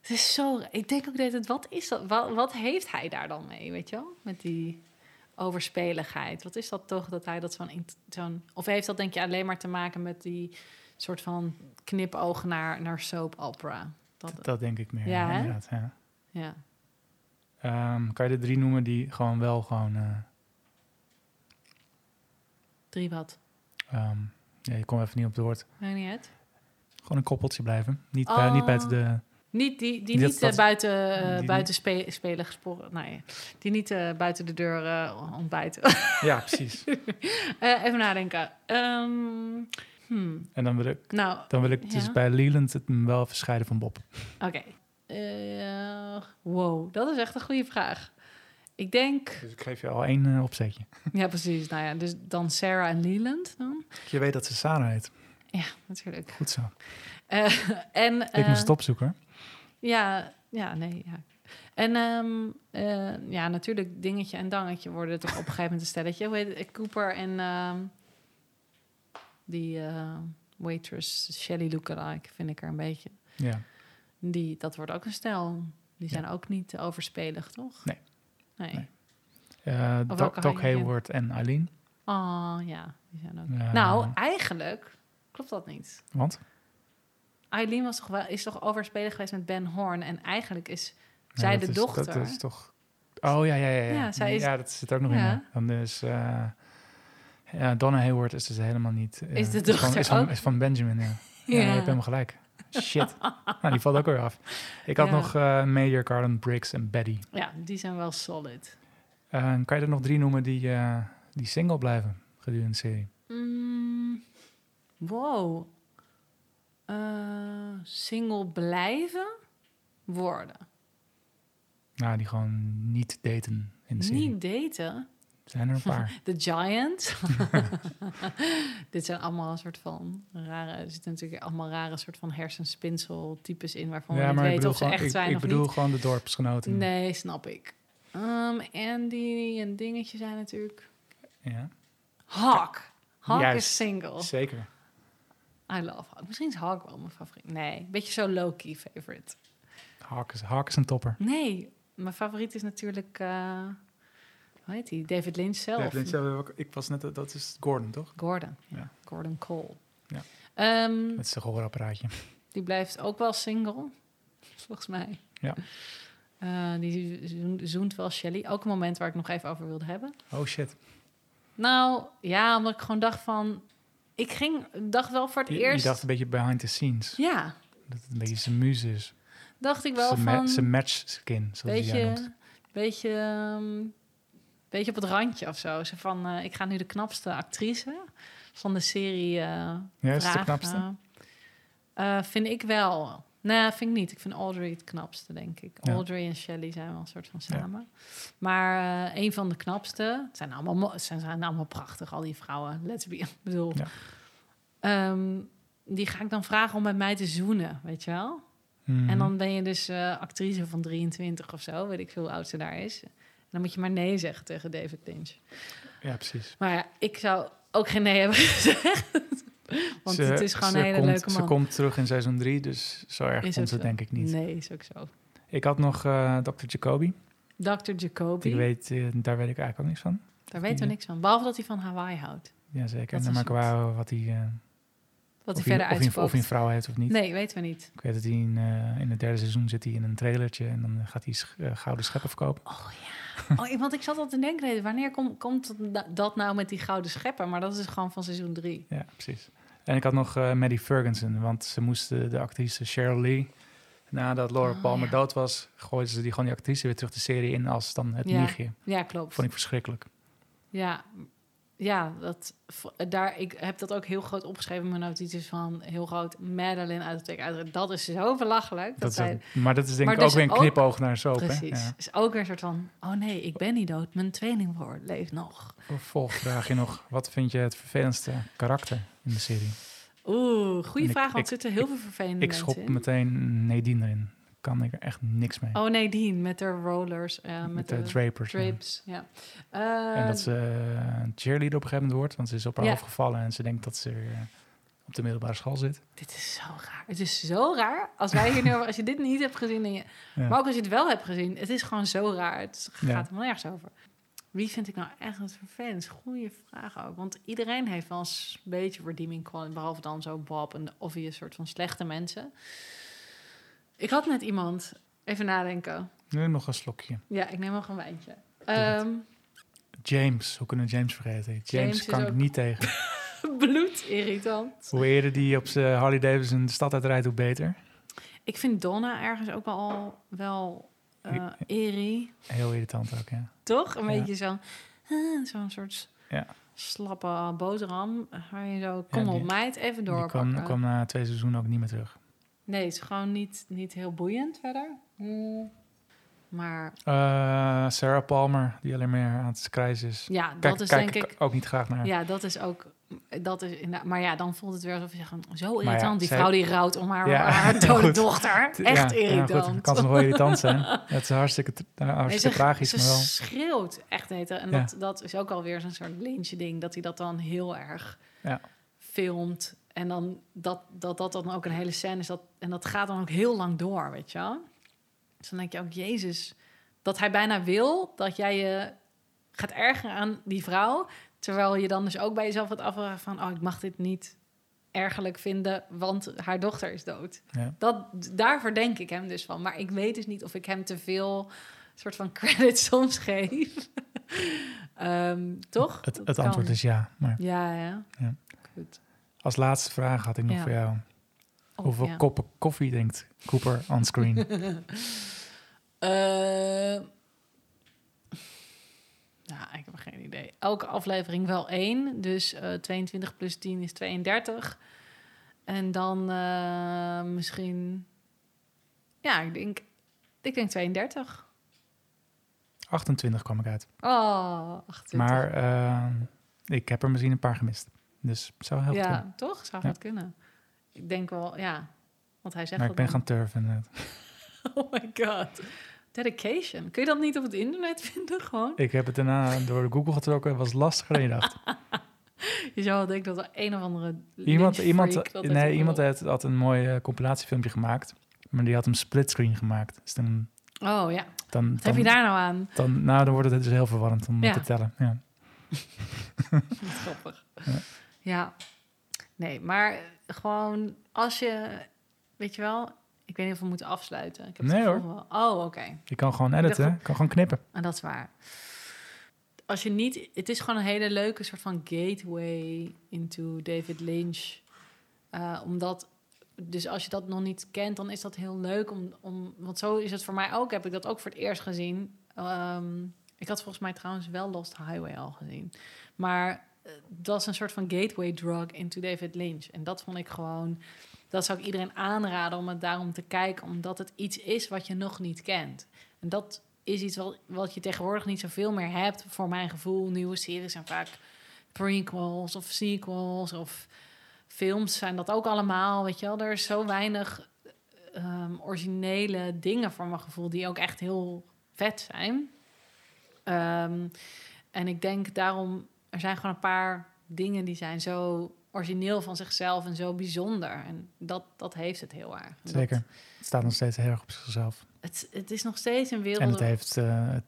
Het is zo. ra- Ik denk ook dat het. Wat is dat? Wat, wat heeft hij daar dan mee? Weet je wel? Met die overspeligheid. Wat is dat toch dat hij dat zo'n. int- zo'n of heeft dat denk je alleen maar te maken met die soort van knipoog naar, naar soap opera? Dat,
Dat, dat denk ik meer.
Ja, hè?
inderdaad, ja.
ja.
Ehm, kan je de drie noemen die gewoon wel gewoon... eh,
Drie wat.
ehm, ja, je komt even niet op het woord.
Maakt niet uit.
Gewoon een koppeltje blijven. Niet, bij, niet
Oh.
buiten de...
Niet die, die
Dat-
niet eh,
dat-
buiten,
die
eh,
niet-
buiten spe- spelen gesporen. Nee, die niet eh, buiten de deur eh, ontbijten. Eh,
Ja, precies.
even nadenken. Ehm, hmm,
en dan wil ik,
Nou,
dan wil ik dus
Ja.
bij Leland het wel even scheiden van Bob.
oké. Eh, wow, dat is echt een goede vraag. Ik denk.
Dus ik geef je al één eh, opzetje.
Ja, precies. Nou ja, dus dan Sarah en Leland dan.
Je weet dat ze Sarah heet.
Ja, natuurlijk.
Goed zo.
Eh, en,
ik
eh,
moest het opzoeken. hoor.
Ja, ja, nee, ja. En ehm, eh, ja, natuurlijk dingetje en dangetje worden toch op een gegeven moment een stelletje. Hoe heet het? Cooper en ehm, die eh, waitress Shelley lookalike vind ik er een beetje.
Ja.
Die, dat wordt ook een stel. Die zijn ook niet overspelig, toch?
Nee.
Nee.
Nee. Eh
Of
Doc,
welke
Doc
hou je in?
Hayward en Eileen.
Oh, ja, die zijn ook.
Eh,
Nou, eigenlijk klopt dat niet.
Want?
Eileen was toch wel, is toch overspelig geweest met Ben Horn. En eigenlijk is
Nee,
zij
dat
de
is-
dochter.
Dat is toch... Oh, ja, ja, ja. Ja,
Ja, zij
Nee,
is-
ja dat zit er ook nog
Ja.
in. hè. Dan is... eh, ja, Donna Hayward is dus helemaal niet... eh,
Is de
van-
dochter
is van,
ook?
Is van Benjamin, ja. Ja, je hebt helemaal gelijk. Shit. nou, die valt ook weer af. Ik had
Ja.
nog eh Major, Garland, Briggs en Betty.
Ja, die zijn wel solid.
Eh, kan je er nog drie noemen die, eh, die single blijven gedurende de serie?
Mm, wow. Eh, single blijven worden.
Nou, die gewoon niet daten in de serie.
Niet daten.
Zijn er een paar.
The Giant. Dit zijn allemaal een soort van rare... Er zitten natuurlijk allemaal rare soort van hersenspinseltypes in... waarvan we
ja,
niet
maar ik
weten
bedoel,
of ze
gewoon,
echt
ik,
zijn
ik
of
bedoel
niet.
gewoon de dorpsgenoten.
Nee, snap ik. Ehm, Andy en dingetje zijn natuurlijk...
Ja,
Hawk. Hawk
Juist.
is single.
zeker.
I love Hawk. Misschien is Hawk wel mijn favoriet. Nee, beetje zo low-key favorite.
Hawk is, Hawk is een topper.
Nee, mijn favoriet is natuurlijk. eh, hoe heet die? David Lynch zelf.
ik was net, dat is Gordon, toch?
Gordon. ja.
Ja.
Gordon Cole.
Ja.
Ehm,
Dat is een gehoorapparaatje.
die blijft ook wel single, volgens mij.
Ja.
Eh, die zoen- zoent wel Shelley. Ook een moment waar ik nog even over wilde hebben.
Oh shit.
Nou ja, omdat ik gewoon dacht van. Ik ging, dacht wel voor het
Je, je
eerst.
dacht een beetje behind the scenes.
Ja,
Dat het een beetje zijn muze is.
dacht ik wel
Zijn ma-
van.
zijn match skin, zoals hij dat noemt.
beetje, beetje, ehm, beetje op het randje of zo. Zo van, eh, ik ga nu de knapste actrice van de serie eh
Ja, is het de
vragen.
knapste.
Eh, vind ik wel. Nee, vind ik niet. Ik vind Audrey het knapste, denk ik.
Ja.
Audrey en Shelley zijn wel een soort van
Ja.
samen. Maar eh, een van de knapste. Het zijn allemaal, mo- ze zijn allemaal prachtig, al die vrouwen. Let's be... Ik bedoel...
Ja.
Ehm, die ga ik dan vragen om met mij te zoenen, weet je wel?
Mhm.
En dan ben je dus eh, actrice van 23 of zo, weet ik veel hoe oud ze daar is. En dan moet je maar nee zeggen tegen David Lynch.
Ja, precies.
Maar ja, ik zou ook geen nee hebben gezegd. Want
Ze-
het is gewoon
ze
een hele
komt,
leuke man.
Ze komt terug in seizoen 3, dus zo erg komt
Is ook
het
zo.
denk ik niet.
Nee, is ook zo.
Ik had nog eh Dr. Jacoby.
Dr. Jacobi,
Ik weet, eh, daar weet ik eigenlijk ook niks van.
daar weten we niks van. Behalve dat hij van Hawaii houdt.
Jazeker.
Dat
En dan
is
maar qua wat hij, eh,
Wat
of,
hij verder
hij, of, hij, of
uitspookt.
hij een vrouw heeft of niet.
Nee, weten we niet.
Ik weet dat hij in, eh, in het derde seizoen zit hij in een trailertje en dan gaat hij sch- eh, gouden scheppen verkopen.
Oh, ik- want ik zat al te denken, nee, wanneer kom- komt dat- dat nou met die gouden scheppen? Maar dat is gewoon van seizoen 3.
Ja, precies. En ik had nog eh Maddie Ferguson, want ze moesten de actrice Cheryl Lee, nadat Laura
Oh,
Palmer
ja.
dood was, gooiden ze die gewoon die actrice weer terug de serie in als dan het
Ja.
nichtje.
Ja, klopt.
Vond ik verschrikkelijk.
Ja, ja dat, v- daar, ik heb dat ook heel groot opgeschreven in mijn notities van heel groot Madeline uit de Tek uit. Dat is zo belachelijk. Dat,
Dat is
zij,
ook- maar dat is denk
Maar
ik ook
dus
weer een
ook-
knipoog naar soap. hè?
Precies.
Ja.
Is ook weer een soort van: oh nee, ik ben niet dood, mijn tweelingbroer leeft nog.
Volgvraagje nog. Wat vind je het vervelendste karakter in de serie?
Oeh, goede
Ik-
vraag, want
ik-
er zitten heel veel vervelende
Ik schop
mensen in.
meteen Nadine erin. Kan ik er echt niks mee.
Oh nee, Dean met de rollers, eh, met,
met
de,
de, drapers. ja.
drapes. Ja. Eh,
En dat ze eh, een cheerleader op een gegeven moment wordt, want ze is op haar
Ja.
hoofd gevallen en ze denkt dat ze weer eh, op de middelbare school zit.
Dit is zo raar. Het is zo raar. Als wij hier nu, over- als je dit niet hebt gezien, en je,
Ja.
maar ook als je het wel hebt gezien, het is gewoon zo raar. Het gaat
Ja.
helemaal nergens over. Wie vind ik nou echt het vervelendst? Goeie vraag ook. Want iedereen heeft wel eens een beetje redeeming quality. Behalve dan zo Bob en de obvious soort van slechte mensen. Ik had net iemand. Even nadenken.
Nu nog een slokje.
Ja, ik neem nog een wijntje.
het.
Ehm,
James, hoe kunnen we James vergeten? James,
James is
kan ik
ook-
niet tegen.
bloedirritant.
Hoe eerder die op zijn Harley Davidson de stad uitrijdt, hoe beter.
Ik vind Donna ergens ook wel, wel eh eerie.
Heel irritant ook, ja.
Toch? Een
Ja.
beetje zo, eh, zo'n soort
Ja.
slappe boterham. Waar je zo, kom
Ja, die-
op meid, even
Die
doorpakken.
kwam, kwam na twee seizoenen ook niet meer terug.
Nee, het is gewoon niet, niet heel boeiend verder. Hmm. Maar
Eh, Sarah Palmer, die alleen meer aan het krijzen is.
ja,
Kijk,
dat is
kijk oh,
denk
ik
ik...
ook niet graag naar.
Ja, dat is ook... Dat is inderdaad- maar ja, dan voelt het weer alsof je zegt... Zo
ja,
irritant, die
zij-
vrouw die rouwt om haar,
Ja,
haar dode
goed.
dochter. Echt
Ja, ja, goed,
irritant.
kan ze nog wel irritant zijn. Het is hartstikke, t- eh,
Nee,
hartstikke
ze,
tragisch,
ze
maar wel.
schreeuwt echt heet En
Ja.
dat, dat is ook alweer zo'n soort lintje ding. Dat hij dat dan heel erg
Ja.
filmt. En dan dat, dat dat dan ook een hele scène is. Dat, en dat gaat dan ook heel lang door, weet je wel. Dus dan denk je ook, jezus. Dat hij bijna wil dat jij je gaat ergeren aan die vrouw. Terwijl je dan dus ook bij jezelf gaat afvragen van... oh, ik mag dit niet ergerlijk vinden, want haar dochter is dood.
Ja.
Dat, daarvoor denk ik hem dus van. Maar ik weet dus niet of ik hem te veel soort van credit soms geef. Ehm, toch?
Het,
Dat
het
kan.
antwoord is ja. Maar
Ja, ja.
Ja.
Goed.
als laatste vraag had ik nog
Ja.
voor jou.
Oh,
Hoeveel
ja.
koppen koffie drinkt Cooper on screen?
Eh, nou, ik heb geen idee. Elke aflevering wel één. Dus eh, 22 plus 10 is 32. En dan eh, misschien... Ja, ik denk, ik denk 32.
28 kwam ik uit.
Oh, 28.
Maar eh, ik heb er misschien een paar gemist. Dus het zou helpen.
ja,
kunnen.
toch? Zou
Ja.
dat kunnen. Ik denk wel, ja. Want hij zegt
maar ik ben
dat
gaan turven. eh.
dan. Oh my god. Dedication. Kun je dat niet op het internet vinden gewoon?
Ik heb het daarna door Google getrokken. Het was lastiger dan je dacht.
Je zou wel denken dat er een of andere
Iemand,
lynchfreak dat
iemand,
heeft
nee, iemand
opgelost.
had, had een mooi eh, compilatiefilmpje gemaakt. Maar die had hem splitscreen gemaakt. Dus dan,
Oh ja. Wat
dan, dan,
heb je daar nou aan?
dan, nou, dan wordt het dus heel verwarrend om
Ja.
te tellen. Ja.
Wat grappig. Ja. Nee, maar eh, gewoon als je... Weet je wel? Ik weet niet of we moeten afsluiten. Ik heb het
Nee,
gevoel wel- Oh, oké.
Je kan gewoon editen, hè? je kan gewoon knippen.
En dat is waar. Als je niet, het is gewoon een hele leuke soort van gateway into David Lynch. Eh, omdat, dus als je dat nog niet kent, dan is dat heel leuk. Om, om, want zo is het voor mij ook. Heb ik dat ook voor het eerst gezien. Ehm, ik had volgens mij trouwens wel Lost Highway al gezien. Maar eh, dat is een soort van gateway drug into David Lynch. En dat vond ik gewoon... Dat zou ik iedereen aanraden om het daarom te kijken. Omdat het iets is wat je nog niet kent. En dat is iets wat, wat je tegenwoordig niet zoveel meer hebt. Voor mijn gevoel, nieuwe series zijn vaak prequels of sequels of films zijn dat ook allemaal. Weet je wel, er is zo weinig ehm, originele dingen voor mijn gevoel die ook echt heel vet zijn. Ehm, en ik denk daarom, er zijn gewoon een paar dingen die zijn zo origineel van zichzelf en zo bijzonder. En dat, dat heeft het heel erg. En dat-
Zeker. Het staat nog steeds heel erg op zichzelf.
het, het is nog steeds een wereld.
En het heeft eh, het,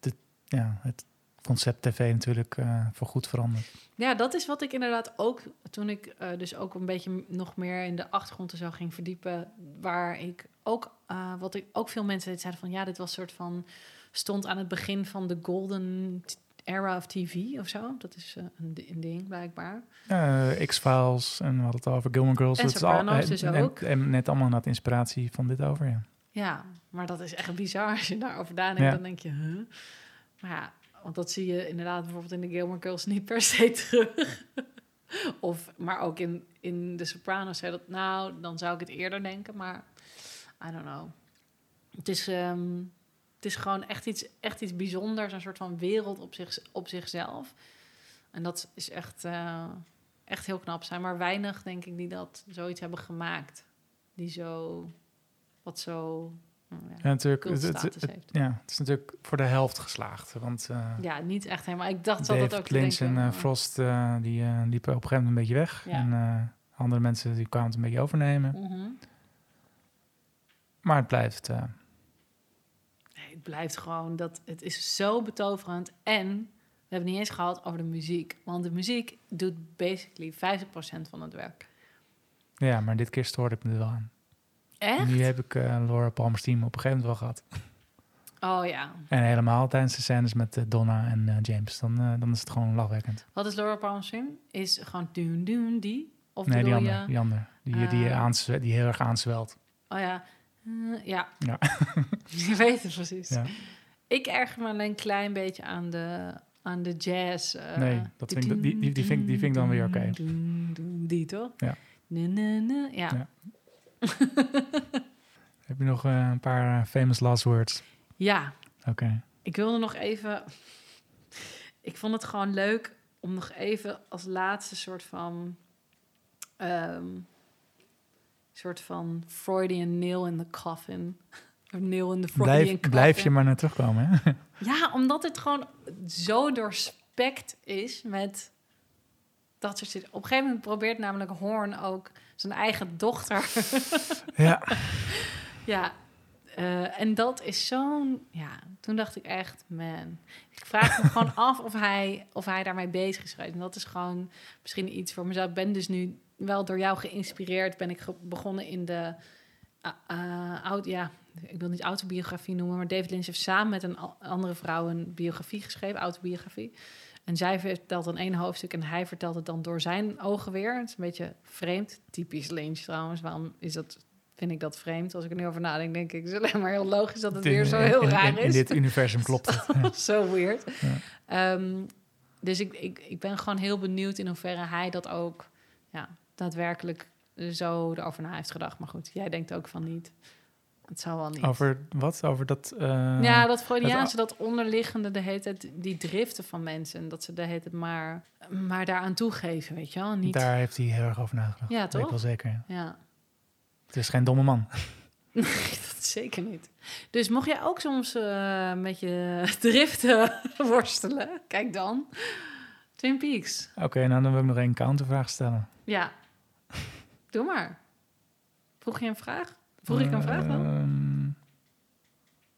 het- ja, het concept tv natuurlijk eh voorgoed veranderd.
Ja, dat is wat ik inderdaad ook toen ik eh, dus ook een beetje m- nog meer in de achtergrond en zo ging verdiepen, waar ik ook eh, wat ik ook veel mensen zeiden van ja, dit was soort van stond aan het begin van de golden t- era of TV of zo. Dat is eh, een, di- een ding blijkbaar.
Eh, X-Files en we hadden het al over Gilmore Girls.
En
Dat is al-
Sopranos
eh,
dus
en-
ook.
En, net allemaal naar de inspiratie van dit over, ja.
Ja, maar dat is echt bizar als je daarover nadenkt.
Ja.
Dan denk je, huh? Maar ja, want dat zie je inderdaad bijvoorbeeld in de Gilmore Girls niet per se terug. of, maar ook in, in de Sopranos zei dat, nou, dan zou ik het eerder denken, maar I don't know. Het is, ehm, het is gewoon echt iets, echt iets bijzonders, een soort van wereld op, zich, op zichzelf. En dat is echt, eh, echt heel knap. Zijn maar weinig, denk ik, die dat zoiets hebben gemaakt. Die zo, wat zo, nou ja,
Ja, natuurlijk, het, het-
cultstatus
het-
heeft.
ja, het is natuurlijk voor de helft geslaagd. Want eh
Ja, niet echt helemaal. Ik dacht wel dat ook
David
te
Lynch en
denken,
eh,
maar-
Frost eh, die, eh, liepen op een gegeven moment een beetje weg.
Ja.
En eh, andere mensen die kwamen het een beetje overnemen.
Mhm.
Maar het blijft... eh,
Nee, het blijft gewoon dat het is zo betoverend. En we hebben het niet eens gehad over de muziek. Want de muziek doet basically 50% van het werk.
ja, maar dit keer stoorde ik me er wel aan.
Echt?
Nu heb ik eh, Laura Palmer's team op een gegeven moment wel gehad.
Oh ja.
En helemaal tijdens de scènes met eh, Donna en eh, James. Dan, eh, dan is het gewoon lachwekkend.
Wat is Laura Palmer's film? Is gewoon doen doen die? Of
nee, die
bedoel
andere.
je...
Die, andere. Die, die,
Eh,
aanzwe- die heel erg aanzwelt.
Oh ja. Eh, ja.
Ja.
Je weet het precies.
Ja.
Ik erger me alleen een klein beetje aan de, aan de jazz. eh,
Nee, dat vind ik- die- die- die vind ik- die vind ik dan weer oké.
Die toch?
Ja.
Nee, nee, nee. Ja.
Ja. Heb je nog eh, een paar eh, famous last words?
ja.
Oké.
Ik wilde nog even. Ik vond het gewoon leuk om nog even als laatste soort van. ehm, soort van Freudian nail in the coffin. Of nail in the Freudian
Blijf,
coffin.
blijf je maar naar terugkomen, hè?
Ja, omdat het gewoon zo doorspekt is met dat soort dingen. Op een gegeven moment probeert namelijk Horn ook zijn eigen dochter
ja.
Ja, eh, en dat is zo'n... Ja, toen dacht ik echt, man. Ik vraag me gewoon af of hij, of hij daarmee bezig is geweest. En dat is gewoon misschien iets voor mezelf. Ik ben dus nu wel door jou geïnspireerd. Ben ik ge- begonnen in de... eh, eh, oud, ja, ik wil niet autobiografie noemen, maar David Lynch heeft samen met een a- andere vrouw een biografie geschreven, autobiografie. En zij vertelt dan één hoofdstuk en hij vertelt het dan door zijn ogen weer. Het is een beetje vreemd, typisch Lynch trouwens. Waarom is dat, vind ik dat vreemd? Als ik er nu over nadenk, denk ik, het is alleen maar heel logisch dat het weer zo heel
in,
raar
in-
is.
in dit universum klopt het. Ja.
Zo weird. Ehm, dus ik, ik, ik ben gewoon heel benieuwd in hoeverre hij dat ook ja, daadwerkelijk zo erover na heeft gedacht. Maar goed, jij denkt ook van niet. Het zou wel niet.
Over wat? Over dat... eh,
ja, dat Freudiaanse, dat onderliggende, de hele tijd, die driften van mensen. En dat ze de hele tijd maar, maar daaraan toegeven, weet je wel. Niet,
Daar heeft hij heel erg over nagedacht.
Ja,
Dat weet ik
toch?
wel zeker. ja.
Ja.
Het is geen domme man.
Dat zeker niet. Dus mocht jij ook soms eh, met je driften worstelen, kijk dan. Twin Peaks.
Oké, nou dan wil ik nog één countervraag stellen.
Ja. Doe maar. Vroeg je een vraag? Vroeg ik een vraag dan?
Ehm,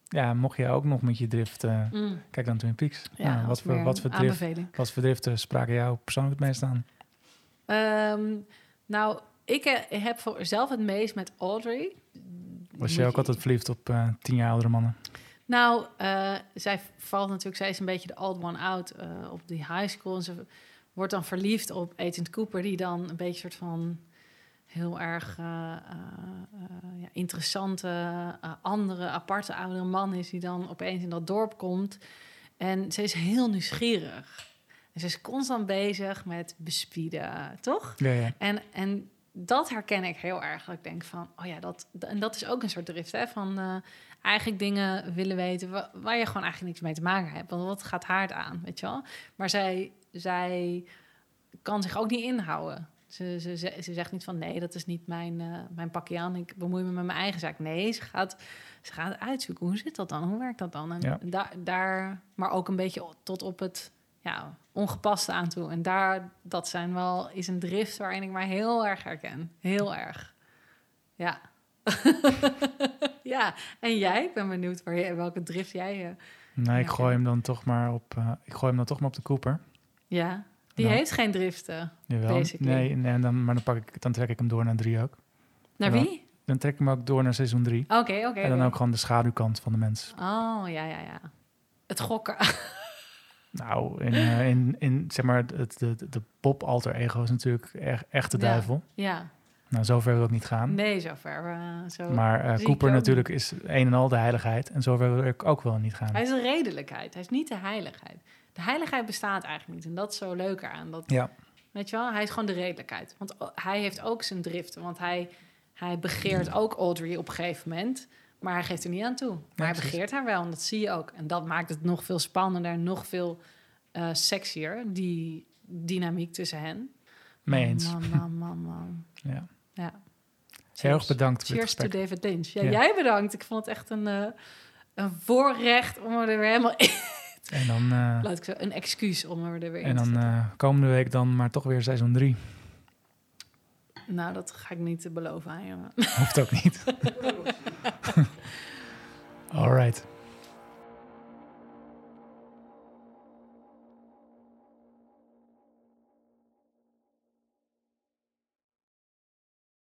ja, mocht jij ook nog met je drift... eh,
Mm,
kijk dan Twin Peaks.
ja,
Nou, wat,
als
voor,
meer
wat, voor drift,
aanbeveling.
wat voor driften spraken jou persoonlijk het meest aan?
Ehm, nou, ik eh, heb voor zelf het meest met Audrey.
Was je ook altijd verliefd op eh, tien jaar oudere mannen?
Nou, eh, zij valt natuurlijk, zij is een beetje de old one out eh, op die high school. En ze wordt dan verliefd op Agent Cooper, die dan een beetje soort van heel erg eh, eh, eh, ja, interessante, eh, andere, aparte oudere man is, die dan opeens in dat dorp komt. En ze is heel nieuwsgierig. En ze is constant bezig met bespieden, toch?
Ja, ja.
En, en dat herken ik heel erg. Dat ik denk van, oh ja, dat, d- en dat is ook een soort drift, hè? Van eh, eigenlijk dingen willen weten wa- waar je gewoon eigenlijk niks mee te maken hebt. Want wat gaat haar het aan, weet je wel? Maar zij, zij kan zich ook niet inhouden. Ze, ze, ze, ze zegt niet van, nee, dat is niet mijn, eh, mijn pakje aan. Ik bemoei me met mijn eigen zaak. Nee, ze gaat, ze gaat uitzoeken. Hoe zit dat dan? Hoe werkt dat dan? En
Ja.
daar, daar, maar ook een beetje tot op het ja, ongepast aan toe. En daar, dat zijn wel, is een drift waarin ik mij heel erg herken. Heel erg. Ja. ja, en jij? Ik ben benieuwd waar je, welke drift jij... eh,
Nee, ik
Ja,
gooi
ja.
hem dan toch maar op, eh, ik gooi hem dan toch maar op de Cooper.
ja, die
Nou.
heeft geen driften.
Jawel.
Basically.
Nee, nee dan, maar dan, pak ik, dan trek ik hem door naar drie ook.
Naar
Ja.
wie?
Dan trek ik hem ook door naar seizoen drie.
Oké, oké.
en dan
oké.
ook gewoon de schaduwkant van de mens.
Oh, ja, ja, ja. Het gokken.
Nou, in, eh, in, in zeg maar, het, de, de Bob alter ego is natuurlijk echt, echt de
Ja.
duivel.
ja,
Nou, zover wil ik niet gaan.
nee, zover. eh, zo.
Maar eh,
zie ik
Cooper
jou
natuurlijk is een en al de heiligheid. En zover wil ik ook wel niet gaan.
Hij is de redelijkheid. Hij is niet de heiligheid. De heiligheid bestaat eigenlijk niet. En dat is zo leuk aan. Dat,
Ja.
Weet je wel, hij is gewoon de redelijkheid. Want o- hij heeft ook zijn driften. Want hij, hij begeert ook Audrey op een gegeven moment. Maar hij geeft er niet aan toe. Maar hij
precies.
begeert haar wel. En dat zie je ook. En dat maakt het nog veel spannender. Nog veel eh sexier. Die dynamiek tussen hen.
Mee eens.
Man, man, man, man.
Ja.
Ja.
Heel erg
Cheers.
bedankt voor dit
Cheers to
gesprek.
David Lynch. Ja,
Ja.
Jij bedankt. Ik vond het echt een, eh, een voorrecht om er weer helemaal in...
En dan, eh,
Laat ik zo, een excuus om er weer in
en
te
dan
zetten.
eh, komende week dan maar toch weer seizoen 3.
Nou, dat ga ik niet eh, beloven aan je.
Hoeft ook niet. All right.